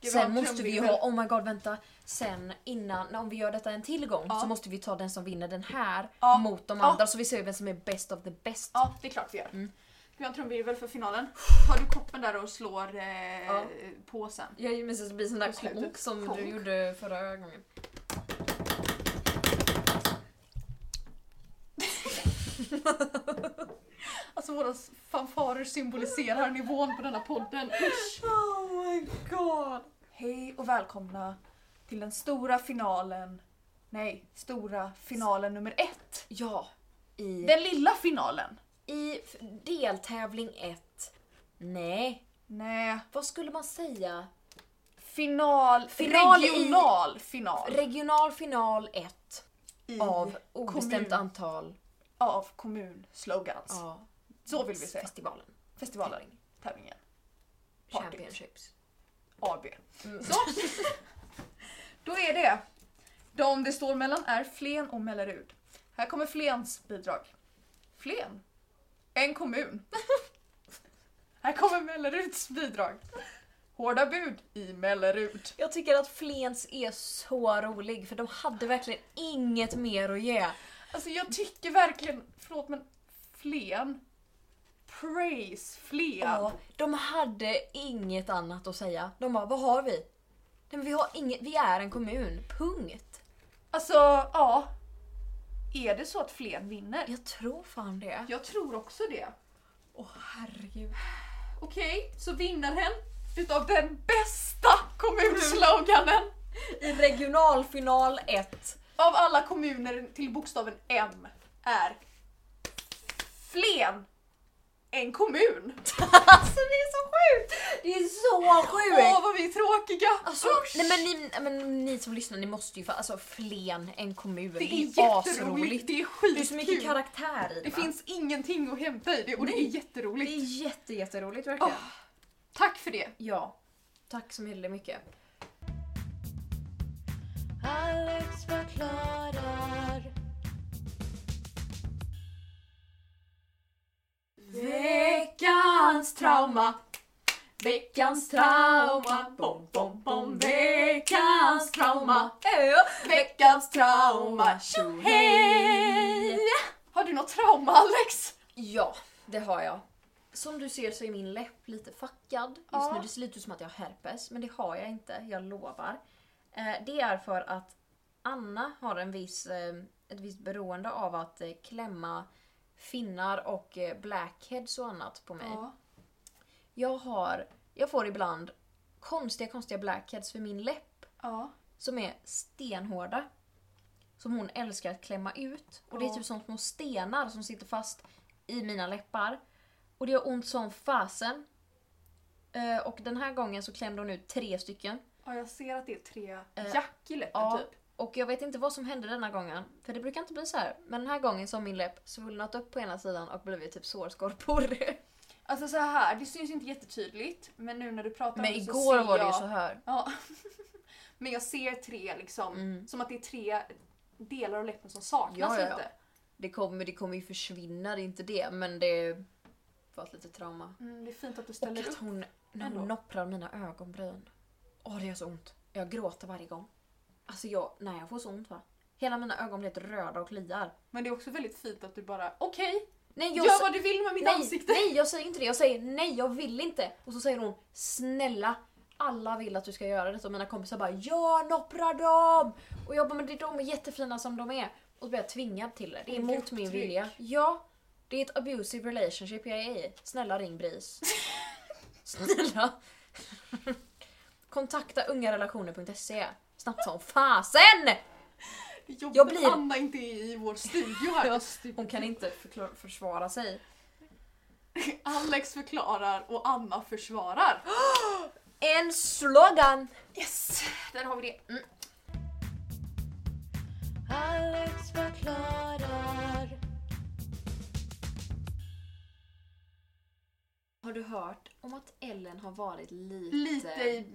Speaker 2: vi ha
Speaker 1: Sen
Speaker 2: en
Speaker 1: måste vi ju
Speaker 2: trumvirvel?
Speaker 1: ha, oh my god vänta, sen innan, om vi gör detta en till gång
Speaker 2: Ja.
Speaker 1: så måste vi ta den som vinner den här
Speaker 2: Ja.
Speaker 1: mot de
Speaker 2: Ja.
Speaker 1: andra så vi ser vem som är best of the best.
Speaker 2: Ja, det är klart vi gör.
Speaker 1: Mm.
Speaker 2: Ska vi ha en trumvirvel för finalen? Tar du koppen där och slår eh,
Speaker 1: Ja.
Speaker 2: påsen?
Speaker 1: Jag minns att det blir sån där
Speaker 2: På slutet.
Speaker 1: konk som
Speaker 2: Konk.
Speaker 1: du gjorde förra gången.
Speaker 2: Alltså våra fanfarer symboliserar nivån på denna podden. Usch.
Speaker 5: Oh my god!
Speaker 2: Hej och välkomna till den stora finalen. Nej, stora finalen nummer ett.
Speaker 1: Ja, i,
Speaker 2: Den lilla finalen.
Speaker 1: i f- deltävling 1. Nej,
Speaker 2: Nej,
Speaker 1: vad skulle man säga?
Speaker 2: final,
Speaker 1: Final i-
Speaker 2: regional final
Speaker 1: Regional final 1
Speaker 2: i,
Speaker 1: av obestämt
Speaker 2: kommun.
Speaker 1: antal
Speaker 2: av kommunslogans.
Speaker 1: ja,
Speaker 2: Så vill vi säga.
Speaker 1: festivalen.
Speaker 2: Festivalen, tävlingen, Partyt.
Speaker 1: Championships.
Speaker 2: AB. Så! Då är det. De det står mellan är Flen och Mellerud. Här kommer Flens bidrag. Flen. En kommun. Här kommer Melleruds bidrag. Hårda bud i Mellerud.
Speaker 1: Jag tycker att Flens är så rolig för de hade verkligen inget mer att ge.
Speaker 2: Alltså jag tycker verkligen, förlåt men Flen. Praise Flen.
Speaker 1: Ja, de hade inget annat att säga. De bara, vad har vi? Nej, men vi, har inget, vi är en kommun, punkt.
Speaker 2: Alltså ja. Är det så att Flen vinner?
Speaker 1: Jag tror fan det.
Speaker 2: Jag tror också det.
Speaker 1: Åh herregud.
Speaker 2: Okej, så vinnaren utav den bästa kommunsloganen
Speaker 1: I regionalfinal 1.
Speaker 2: av alla kommuner till bokstaven M är Flen. En kommun.
Speaker 1: alltså det är så sjukt! Det är så
Speaker 2: Åh
Speaker 1: sjukt!
Speaker 2: vad vi är tråkiga.
Speaker 1: Alltså,
Speaker 2: Usch.
Speaker 1: nej, men ni, nej, men ni som lyssnar, ni måste ju få, alltså Flen, en kommun,
Speaker 2: det är jätteroligt.
Speaker 1: asroligt.
Speaker 2: Det är
Speaker 1: Det är så mycket
Speaker 2: skitkul.
Speaker 1: karaktär i
Speaker 2: Det
Speaker 1: va?
Speaker 2: finns ingenting att hämta i det och det är
Speaker 1: det är
Speaker 2: jätteroligt.
Speaker 1: jätte, jätteroligt verkligen.
Speaker 2: Åh. Tack för det.
Speaker 1: Ja. Tack så himla mycket.
Speaker 3: Alex förklarar.
Speaker 2: Veckans trauma. Veckans trauma. Bom, bom, bom. Veckans trauma. Veckans trauma. Tjo, hej! Har du något trauma Alex?
Speaker 1: Ja, det har jag. Som du ser så är min läpp lite fackad. Just
Speaker 2: Ja.
Speaker 1: nu det ser lite ut som att jag har herpes, men det har jag inte, jag lovar. Eh, det är för att Anna har en viss, eh, ett visst beroende av att eh, klämma finnar och eh, blackheads och annat på mig. Jag, har, jag får ibland konstiga, konstiga blackheads för min läpp
Speaker 2: ja.
Speaker 1: som är stenhårda. Som hon älskar att klämma ut. Och det är
Speaker 2: Ja.
Speaker 1: typ som små stenar som sitter fast i mina läppar. Och det gör ont som fasen. Eh, Och den här gången så klämde hon ut tre stycken.
Speaker 2: Ja, jag ser att det är tre
Speaker 1: Eh,
Speaker 2: jack i läppen
Speaker 1: ja.
Speaker 2: typ.
Speaker 1: Och jag vet inte vad som hände denna gången. För det brukar inte bli så här. Men den här gången så har min läpp svullnat upp på ena sidan och blivit typ sårskorpor.
Speaker 2: Alltså så här, det syns inte jättetydligt men nu när du pratar
Speaker 1: Men
Speaker 2: om det så
Speaker 1: igår
Speaker 2: ser
Speaker 1: var det ju
Speaker 2: jag-
Speaker 1: så här.
Speaker 2: Ja. men jag ser tre liksom,
Speaker 1: Mm.
Speaker 2: som att det är tre delar av läppen som saknas
Speaker 1: Ja,
Speaker 2: typ.
Speaker 1: ja, ja.
Speaker 2: lite.
Speaker 1: Det kommer, det kommer ju försvinna, det är inte det. Men det var ett litet trauma.
Speaker 2: Mm, det är fint att du
Speaker 1: Och
Speaker 2: ställer upp.
Speaker 1: att hon, när
Speaker 2: ändå.
Speaker 1: hon nopprar mina ögonbryn. Åh det gör så ont. Jag gråter varje gång. Alltså jag, nej jag får så ont va. Hela mina ögon blir helt röda och kliar.
Speaker 2: Men det är också väldigt fint att du bara okej,
Speaker 1: Nej jag,
Speaker 2: gör
Speaker 1: sa-
Speaker 2: vad du vill med mitt
Speaker 1: nej,
Speaker 2: ansikte.
Speaker 1: nej jag säger inte det, jag säger nej jag vill inte. Och så säger hon snälla alla vill att du ska göra detta och mina kompisar bara jag nopprar dem! Och jag bara men det, de är jättefina som de är. Och så blir jag tvingad till det, det är emot min
Speaker 2: Grupptryck.
Speaker 1: vilja. Ja, det är ett abusive relationship jag är i. Snälla ring BRIS. Snälla. Kontakta ungarelationer.se. Snabbt som fasen!
Speaker 2: Det är jobbigt
Speaker 1: Jag blir-
Speaker 2: att Anna inte är i vår studio här.
Speaker 1: Hon kan inte förklara- försvara sig.
Speaker 2: Alex förklarar och Anna försvarar.
Speaker 1: En slogan!
Speaker 2: Yes! Där har vi det.
Speaker 1: Mm.
Speaker 3: Alex förklarar.
Speaker 1: Har du hört om att Ellen har varit lite...
Speaker 2: Lite i...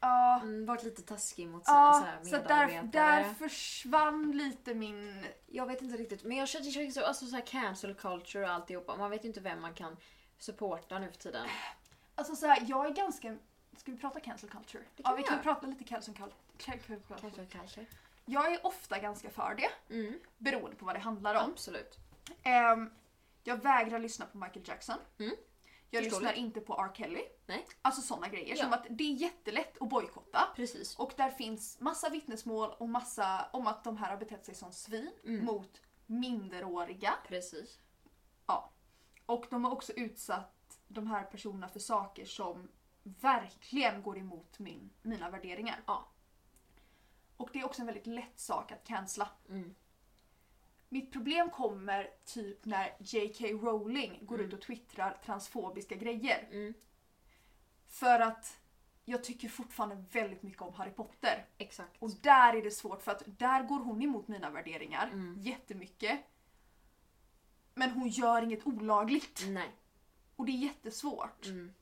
Speaker 2: Ja.
Speaker 1: Mm, varit lite taskig mot sina så
Speaker 2: Ja,
Speaker 1: här
Speaker 2: så
Speaker 1: medarbetare.
Speaker 2: där, där försvann lite min...
Speaker 1: Jag vet inte riktigt, men jag känner ju så, alltså så här cancel culture och
Speaker 2: Äh,
Speaker 1: alltihopa. Man vet ju inte vem man kan supporta nu för tiden.
Speaker 2: Alltså så här, jag är ganska Ska vi prata cancel culture?
Speaker 1: Det kan
Speaker 2: Ja,
Speaker 1: vi
Speaker 2: vi kan
Speaker 1: göra.
Speaker 2: prata lite cancel cul- cancel culture.
Speaker 1: Kanske, kanske.
Speaker 2: Jag är ofta ganska för det,
Speaker 1: Mm.
Speaker 2: beroende på vad det handlar om.
Speaker 1: Absolut.
Speaker 2: Ehm, jag vägrar lyssna på Michael Jackson.
Speaker 1: Mm.
Speaker 2: Jag
Speaker 1: Förståeligt.
Speaker 2: lyssnar inte på R. Kelly.
Speaker 1: Nej.
Speaker 2: Alltså sådana grejer.
Speaker 1: Ja.
Speaker 2: Som att det är jättelätt att bojkotta.
Speaker 1: Precis.
Speaker 2: Och där finns massa vittnesmål och massa om att de här har betett sig som svin
Speaker 1: Mm.
Speaker 2: mot minderåriga.
Speaker 1: Precis.
Speaker 2: Och de har också utsatt de här personerna för saker som verkligen går emot min, mina värderingar.
Speaker 1: Ja.
Speaker 2: Och det är också en väldigt lätt sak att cancella.
Speaker 1: Mm.
Speaker 2: Mitt problem kommer typ när J.K. Rowling går ut och twittrar transfobiska grejer.
Speaker 1: Mm.
Speaker 2: För att jag tycker fortfarande väldigt mycket om Harry Potter.
Speaker 1: Exakt.
Speaker 2: Och där är det svårt för att där går hon emot mina värderingar
Speaker 1: Mm.
Speaker 2: jättemycket. Men hon gör inget olagligt
Speaker 1: Nej.
Speaker 2: och det är jättesvårt.
Speaker 1: Mm.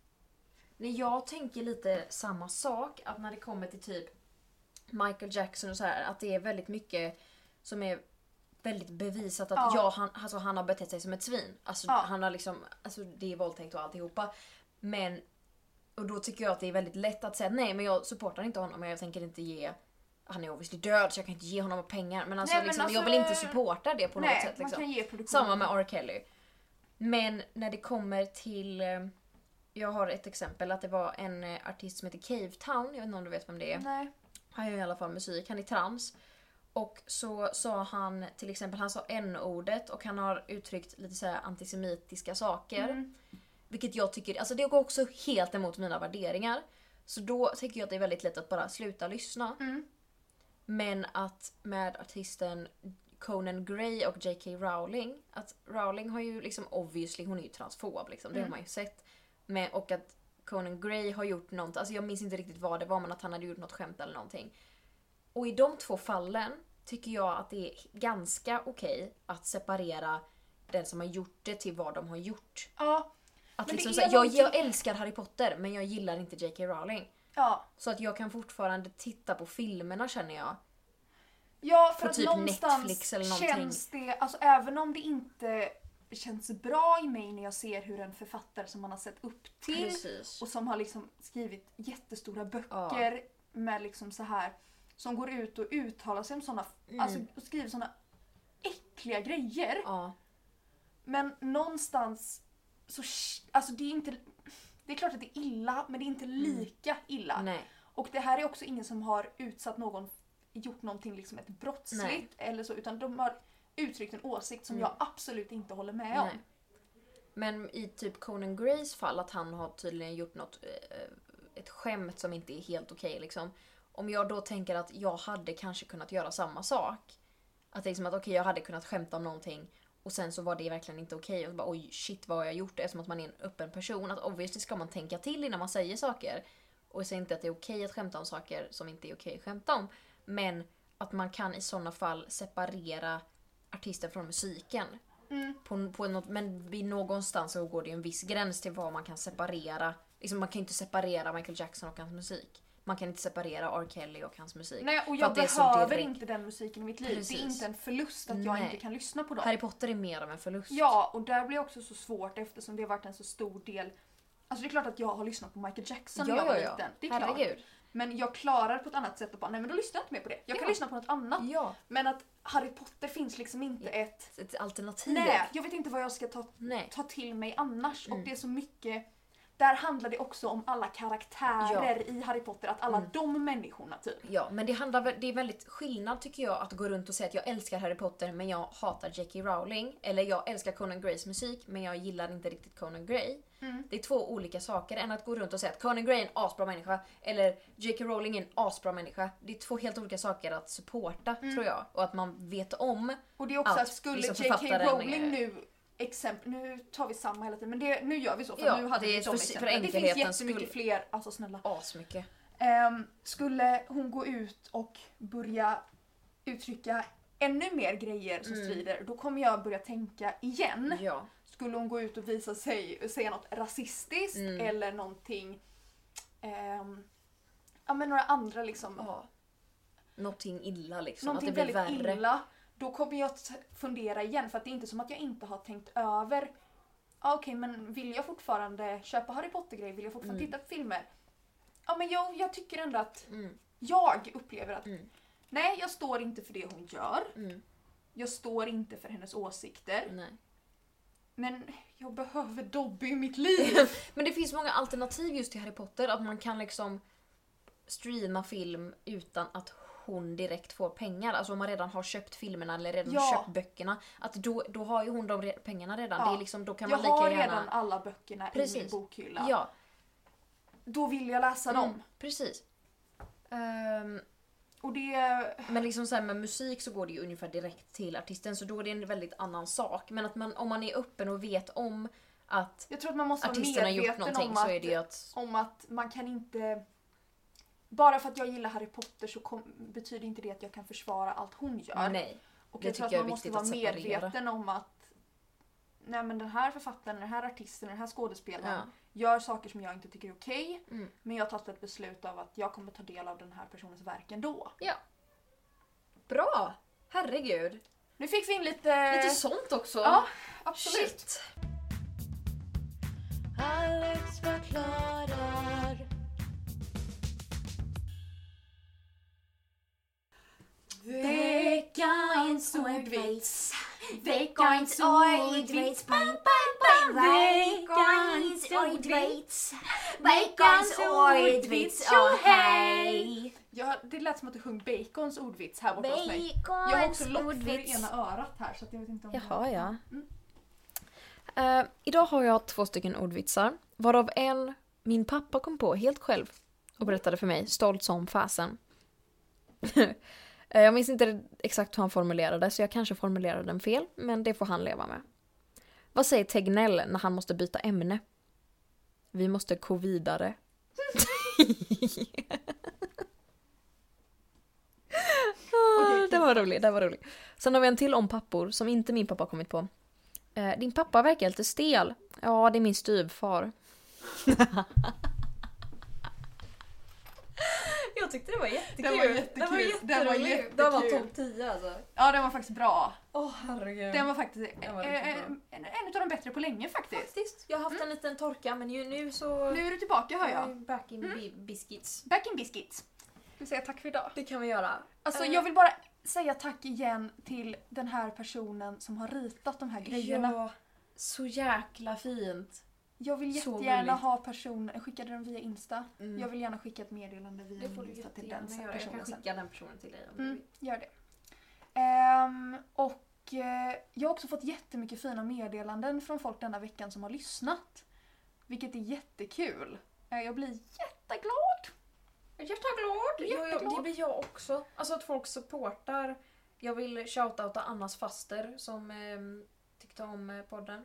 Speaker 1: Nej, jag tänker lite samma sak. Att när det kommer till typ Michael Jackson och så här, att det är väldigt mycket som är väldigt bevisat att
Speaker 2: Ja.
Speaker 1: ja, han, alltså, han har betett sig som ett svin. Alltså,
Speaker 2: Ja.
Speaker 1: han har liksom, alltså, det är våldtäkt och alltihopa. Men, och då tycker jag att det är väldigt lätt att säga nej men jag supportar inte honom och jag tänker inte ge han är obviously död så jag kan inte ge honom pengar men, alltså,
Speaker 2: Nej, men
Speaker 1: liksom,
Speaker 2: alltså-
Speaker 1: jag vill inte supporta det på något
Speaker 2: Nej,
Speaker 1: sätt. Liksom.
Speaker 2: man kan ge produktionen...
Speaker 1: Samma med R. Kelly. Men när det kommer till... eh, Jag har ett exempel att det var en eh, artist som heter Cave Town, jag vet inte om du vet vem det är.
Speaker 2: Nej.
Speaker 1: Han gör i alla fall musik, han är trans. Och så sa han till exempel, han sa n-ordet och han har uttryckt lite så här antisemitiska saker.
Speaker 2: Mm.
Speaker 1: Vilket jag tycker, alltså det går också helt emot mina värderingar. Så då tycker jag att det är väldigt lätt att bara sluta lyssna.
Speaker 2: Mm.
Speaker 1: Men att med artisten Conan Gray och J.K. Rowling, att Rowling har ju liksom obviously, hon är ju transfob liksom, det
Speaker 2: Mm.
Speaker 1: har man ju sett. Men, och att Conan Gray har gjort något, alltså jag minns inte riktigt vad det var men att han hade gjort något skämt eller någonting. Och i de två fallen tycker jag att det är ganska okej att separera den som har gjort det till vad de har gjort.
Speaker 2: Ja,
Speaker 1: Att
Speaker 2: Men
Speaker 1: liksom
Speaker 2: det
Speaker 1: säga,
Speaker 2: är
Speaker 1: jag, jag
Speaker 2: någonting-
Speaker 1: älskar Harry Potter men jag gillar inte J.K. Rowling.
Speaker 2: ja.
Speaker 1: Så att jag kan fortfarande titta på filmerna känner jag.
Speaker 2: Ja, för
Speaker 1: På
Speaker 2: att
Speaker 1: typ
Speaker 2: någonstans
Speaker 1: Netflix eller någonting.
Speaker 2: känns det, alltså även om det inte känns bra i mig när jag ser hur en författare som man har sett upp till
Speaker 1: Precis.
Speaker 2: och som har liksom skrivit jättestora böcker med liksom så här som går ut och uttalar sig om sådana,
Speaker 1: Mm.
Speaker 2: alltså och skriver sådana äckliga grejer.
Speaker 1: Ja,
Speaker 2: Men någonstans så, sh- alltså det är inte, det är klart att det är illa men det är inte
Speaker 1: Mm.
Speaker 2: lika illa.
Speaker 1: nej.
Speaker 2: Och det här är också ingen som har utsatt någon, gjort någonting liksom ett brottsligt
Speaker 1: Nej.
Speaker 2: eller så utan de har uttryckt en åsikt som
Speaker 1: Mm.
Speaker 2: jag absolut inte håller med
Speaker 1: Nej.
Speaker 2: om.
Speaker 1: Men i typ Conan Grays fall, att han har tydligen gjort något, eh, ett skämt som inte är helt okej liksom. Om jag då tänker att jag hade kanske kunnat göra samma sak. Att det är liksom att okej, jag hade kunnat skämta om någonting och sen så var det verkligen inte okej och så bara oj shit vad har jag gjort? Eftersom att man är en öppen person. Att obviously ska man tänka till innan man säger saker. Och jag säger inte att det är okej att skämta om saker som inte är okej att skämta om. Men att man kan i sådana fall separera artisten från musiken.
Speaker 2: Mm.
Speaker 1: på, på något, men vid någonstans så går det ju en viss gräns till vad man kan separera. Liksom man kan ju inte separera Michael Jackson och hans musik. Man kan inte separera R. Kelly och hans musik.
Speaker 2: Nej, och
Speaker 1: För
Speaker 2: jag
Speaker 1: att det är så
Speaker 2: behöver
Speaker 1: direkt.
Speaker 2: inte den musiken i mitt liv. Det
Speaker 1: Precis.
Speaker 2: är inte en förlust att jag
Speaker 1: Nej.
Speaker 2: inte kan lyssna på dem.
Speaker 1: Harry Potter är mer av en förlust.
Speaker 2: Ja, och där blir det också så svårt eftersom det har varit en så stor del. Alltså det är klart att jag har lyssnat på Michael Jackson när jag var liten. Det är klart.
Speaker 1: Herregud.
Speaker 2: Men jag klarar på ett annat sätt att bara, nej men då lyssnar jag inte mer på det. Jag kan
Speaker 1: Ja.
Speaker 2: lyssna på något annat.
Speaker 1: Ja.
Speaker 2: Men att Harry Potter finns liksom inte
Speaker 1: Ja.
Speaker 2: ett...
Speaker 1: Ett alternativ.
Speaker 2: Nej, jag vet inte vad jag ska ta
Speaker 1: Nej. Mm.
Speaker 2: ta till mig annars. Och det är så mycket... Där handlar det också om alla karaktärer i Harry Potter, att
Speaker 1: Mm.
Speaker 2: alla de människorna typ.
Speaker 1: Ja, men det, handlar, väl- det är väldigt skillnad tycker jag att gå runt och säga att jag älskar Harry Potter men jag hatar J.K. Rowling. Eller jag älskar Conan Grays musik men jag gillar inte riktigt Conan Gray.
Speaker 2: Mm.
Speaker 1: Det är två olika saker än att gå runt och säga att Conan Gray är en asbra människa eller J.K. Rowling är en asbra människa. Det är två helt olika saker att supporta
Speaker 2: Mm.
Speaker 1: tror jag. Och att man vet om.
Speaker 2: Och det är också
Speaker 1: Allt,
Speaker 2: att skulle
Speaker 1: liksom
Speaker 2: J.K.
Speaker 1: författaren
Speaker 2: Rowling
Speaker 1: är-
Speaker 2: nu exempel, nu tar vi samma hela tiden men det, nu gör vi så för
Speaker 1: Ja,
Speaker 2: nu hade
Speaker 1: det
Speaker 2: vi
Speaker 1: är
Speaker 2: de
Speaker 1: för- för
Speaker 2: exemplen. Det finns
Speaker 1: enkelhetens
Speaker 2: jättemycket
Speaker 1: skull.
Speaker 2: fler, alltså snälla.
Speaker 1: Asmycket.
Speaker 2: Ehm, skulle hon gå ut och börja uttrycka ännu mer grejer
Speaker 1: Mm.
Speaker 2: som strider då kommer jag börja tänka igen.
Speaker 1: Ja.
Speaker 2: skulle hon gå ut och visa sig, säga något rasistiskt
Speaker 1: Mm.
Speaker 2: eller någonting... ehm, ja men några andra liksom.
Speaker 1: ja. Någonting illa liksom.
Speaker 2: någonting
Speaker 1: att det blir
Speaker 2: väldigt
Speaker 1: värre.
Speaker 2: illa. Då kommer jag att fundera igen för att det är inte som att jag inte har tänkt över. Ah, Okej men vill jag fortfarande köpa Harry Potter-grejer? Vill jag fortfarande titta på filmer? ja, men jag, jag tycker ändå att
Speaker 1: Mm.
Speaker 2: jag upplever att
Speaker 1: Mm.
Speaker 2: nej, jag står inte för det hon gör.
Speaker 1: Mm.
Speaker 2: Jag står inte för hennes åsikter.
Speaker 1: Nej.
Speaker 2: Men jag behöver Dobby i mitt liv.
Speaker 1: Men det finns många alternativ just till Harry Potter. Att man kan liksom streama film utan att hon direkt får pengar. Alltså om man redan har köpt filmerna eller redan
Speaker 2: Ja.
Speaker 1: köpt böckerna. Att då, då har ju hon de re- pengarna redan.
Speaker 2: Ja.
Speaker 1: Det är liksom, då kan
Speaker 2: jag
Speaker 1: man lika
Speaker 2: har
Speaker 1: gärna...
Speaker 2: redan alla böckerna i min
Speaker 1: Precis.
Speaker 2: bokhylla.
Speaker 1: Ja,
Speaker 2: Då vill jag läsa
Speaker 1: mm,
Speaker 2: dem.
Speaker 1: precis. Ehm,
Speaker 2: Och det...
Speaker 1: men liksom så här med musik så går det ju ungefär direkt till artisten så då är det en väldigt annan sak. Men att man, om man är öppen och vet om att
Speaker 2: Jag tror att man måste vara
Speaker 1: artisten har gjort
Speaker 2: medveten
Speaker 1: någonting
Speaker 2: om
Speaker 1: så är
Speaker 2: att,
Speaker 1: det ju att...
Speaker 2: om att man kan inte... Bara för att jag gillar Harry Potter så kom, betyder inte det att jag kan försvara allt hon gör.
Speaker 1: Nej.
Speaker 2: Och
Speaker 1: Det
Speaker 2: jag tror att
Speaker 1: tycker jag
Speaker 2: man
Speaker 1: är
Speaker 2: måste
Speaker 1: viktigt
Speaker 2: vara
Speaker 1: att separera.
Speaker 2: medveten om att nej men den här författaren, den här artisten, den här skådespelaren
Speaker 1: Ja.
Speaker 2: gör saker som jag inte tycker är okej.
Speaker 1: Mm.
Speaker 2: Men jag har tagit ett beslut av att jag kommer ta del av den här personens verk ändå.
Speaker 1: Bra! Herregud.
Speaker 2: Nu fick vi in lite...
Speaker 1: Lite sånt också.
Speaker 2: Eh. Ja, absolut.
Speaker 1: Shit.
Speaker 3: Alex förklarar.
Speaker 7: Veckans ordvits. Veckans ordvits. Bang, bang, bang. Veckans ordvits. Veckans ordvits. Och hej.
Speaker 2: Ja, det lät som att du sjöng Bacons ordvits här borta hos mig.
Speaker 7: Veckans
Speaker 2: Jag har också lock för
Speaker 7: ordvits.
Speaker 2: ena örat här så att jag vet inte om
Speaker 1: Jaha, ja. Eh, idag har jag två stycken ordvitsar, varav en min pappa kom på helt själv och berättade för mig, stolt som fasen. Eh, jag minns inte exakt hur han formulerade, så jag kanske formulerade den fel, men det får han leva med. Vad säger Tegnell när han måste byta ämne? Vi måste gå vidare. Ah, det var roligt, det var roligt. Sen har vi en till om pappor som inte min pappa har kommit på. Eh, din pappa verkar lite stel. Ja, det är min styvfar. Jag tyckte det var jättekul.
Speaker 2: Den var jättekul. Den var jättekul.
Speaker 1: Den var topp 10 alltså.
Speaker 2: Ja, den var faktiskt bra.
Speaker 1: Åh herregud.
Speaker 2: Den var faktiskt
Speaker 1: Den var
Speaker 2: eh,
Speaker 1: riktigt
Speaker 2: eh, en, en, av de bättre på länge faktiskt.
Speaker 1: Faktiskt. Jag har haft en liten torka men ju Mm. nu Mm. så...
Speaker 2: Nu är du tillbaka hör jag.
Speaker 1: Back in bi- biscuits.
Speaker 2: Back in biscuits. Ska vi säga tack för idag?
Speaker 1: Det kan vi göra.
Speaker 2: Alltså jag vill bara säga tack igen till den här personen som har ritat de här grejerna.
Speaker 1: Ja, så jäkla fint.
Speaker 2: Jag vill
Speaker 1: Så
Speaker 2: jättegärna
Speaker 1: gulligt.
Speaker 2: ha personen, skickade den via Insta.
Speaker 1: Mm.
Speaker 2: Jag vill gärna skicka ett meddelande via
Speaker 1: Det får du
Speaker 2: min Insta till
Speaker 1: jättegärna
Speaker 2: den
Speaker 1: göra. Jag
Speaker 2: personen
Speaker 1: kan
Speaker 2: sen.
Speaker 1: skicka den personen till dig om du
Speaker 2: Mm,
Speaker 1: vill.
Speaker 2: gör det. Ehm, och eh, jag har också fått jättemycket fina meddelanden från folk denna veckan som har lyssnat. Vilket är jättekul. Eh, jag blir jätteglad.
Speaker 1: Hjärtaglad! Ja, ja,
Speaker 2: Jätteglad.
Speaker 1: det blir jag också. Alltså att folk supportar. Jag vill shoutouta Annas faster som eh, tyckte om eh, podden.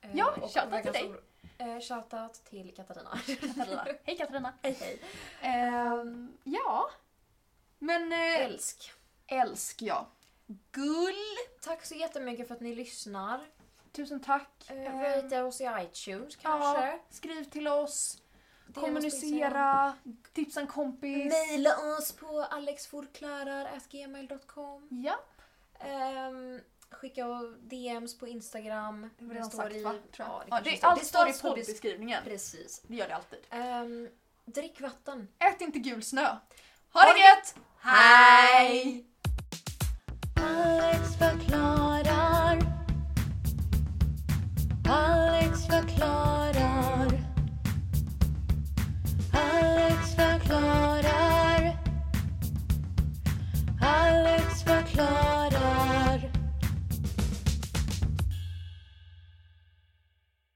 Speaker 1: Eh,
Speaker 2: Ja,
Speaker 1: och
Speaker 2: shoutout till
Speaker 1: verkar
Speaker 2: dig.
Speaker 1: så- Eh, shoutout till Katarina.
Speaker 2: Katarina. Hej Katarina.
Speaker 1: hej hej.
Speaker 2: Ehm, ja. Men eh,
Speaker 1: Älsk.
Speaker 2: älsk ja. Gull.
Speaker 1: Tack så jättemycket för att ni lyssnar.
Speaker 2: Tusen tack.
Speaker 1: Eh,
Speaker 2: Ehm,
Speaker 1: Rate oss i iTunes kanske.
Speaker 2: ja, skriv till oss.
Speaker 1: på
Speaker 2: Kommunicera. Tipsa en kompis.
Speaker 1: Maila oss på alexforklarar.gmail.com
Speaker 2: Ja,
Speaker 1: Ehm, Skicka DMs på Instagram.
Speaker 2: det var redan
Speaker 1: står
Speaker 2: sagt
Speaker 1: i-
Speaker 2: va? Tror jag. Ja,
Speaker 1: kanske
Speaker 2: det, allt
Speaker 1: Det
Speaker 2: står i
Speaker 1: på bes-
Speaker 2: poddbeskrivningen.
Speaker 1: Precis.
Speaker 2: Det gör det alltid.
Speaker 1: Ehm, drick vatten.
Speaker 2: Ät inte gul snö. Ha det gött! Hej!
Speaker 3: Alex förklarar.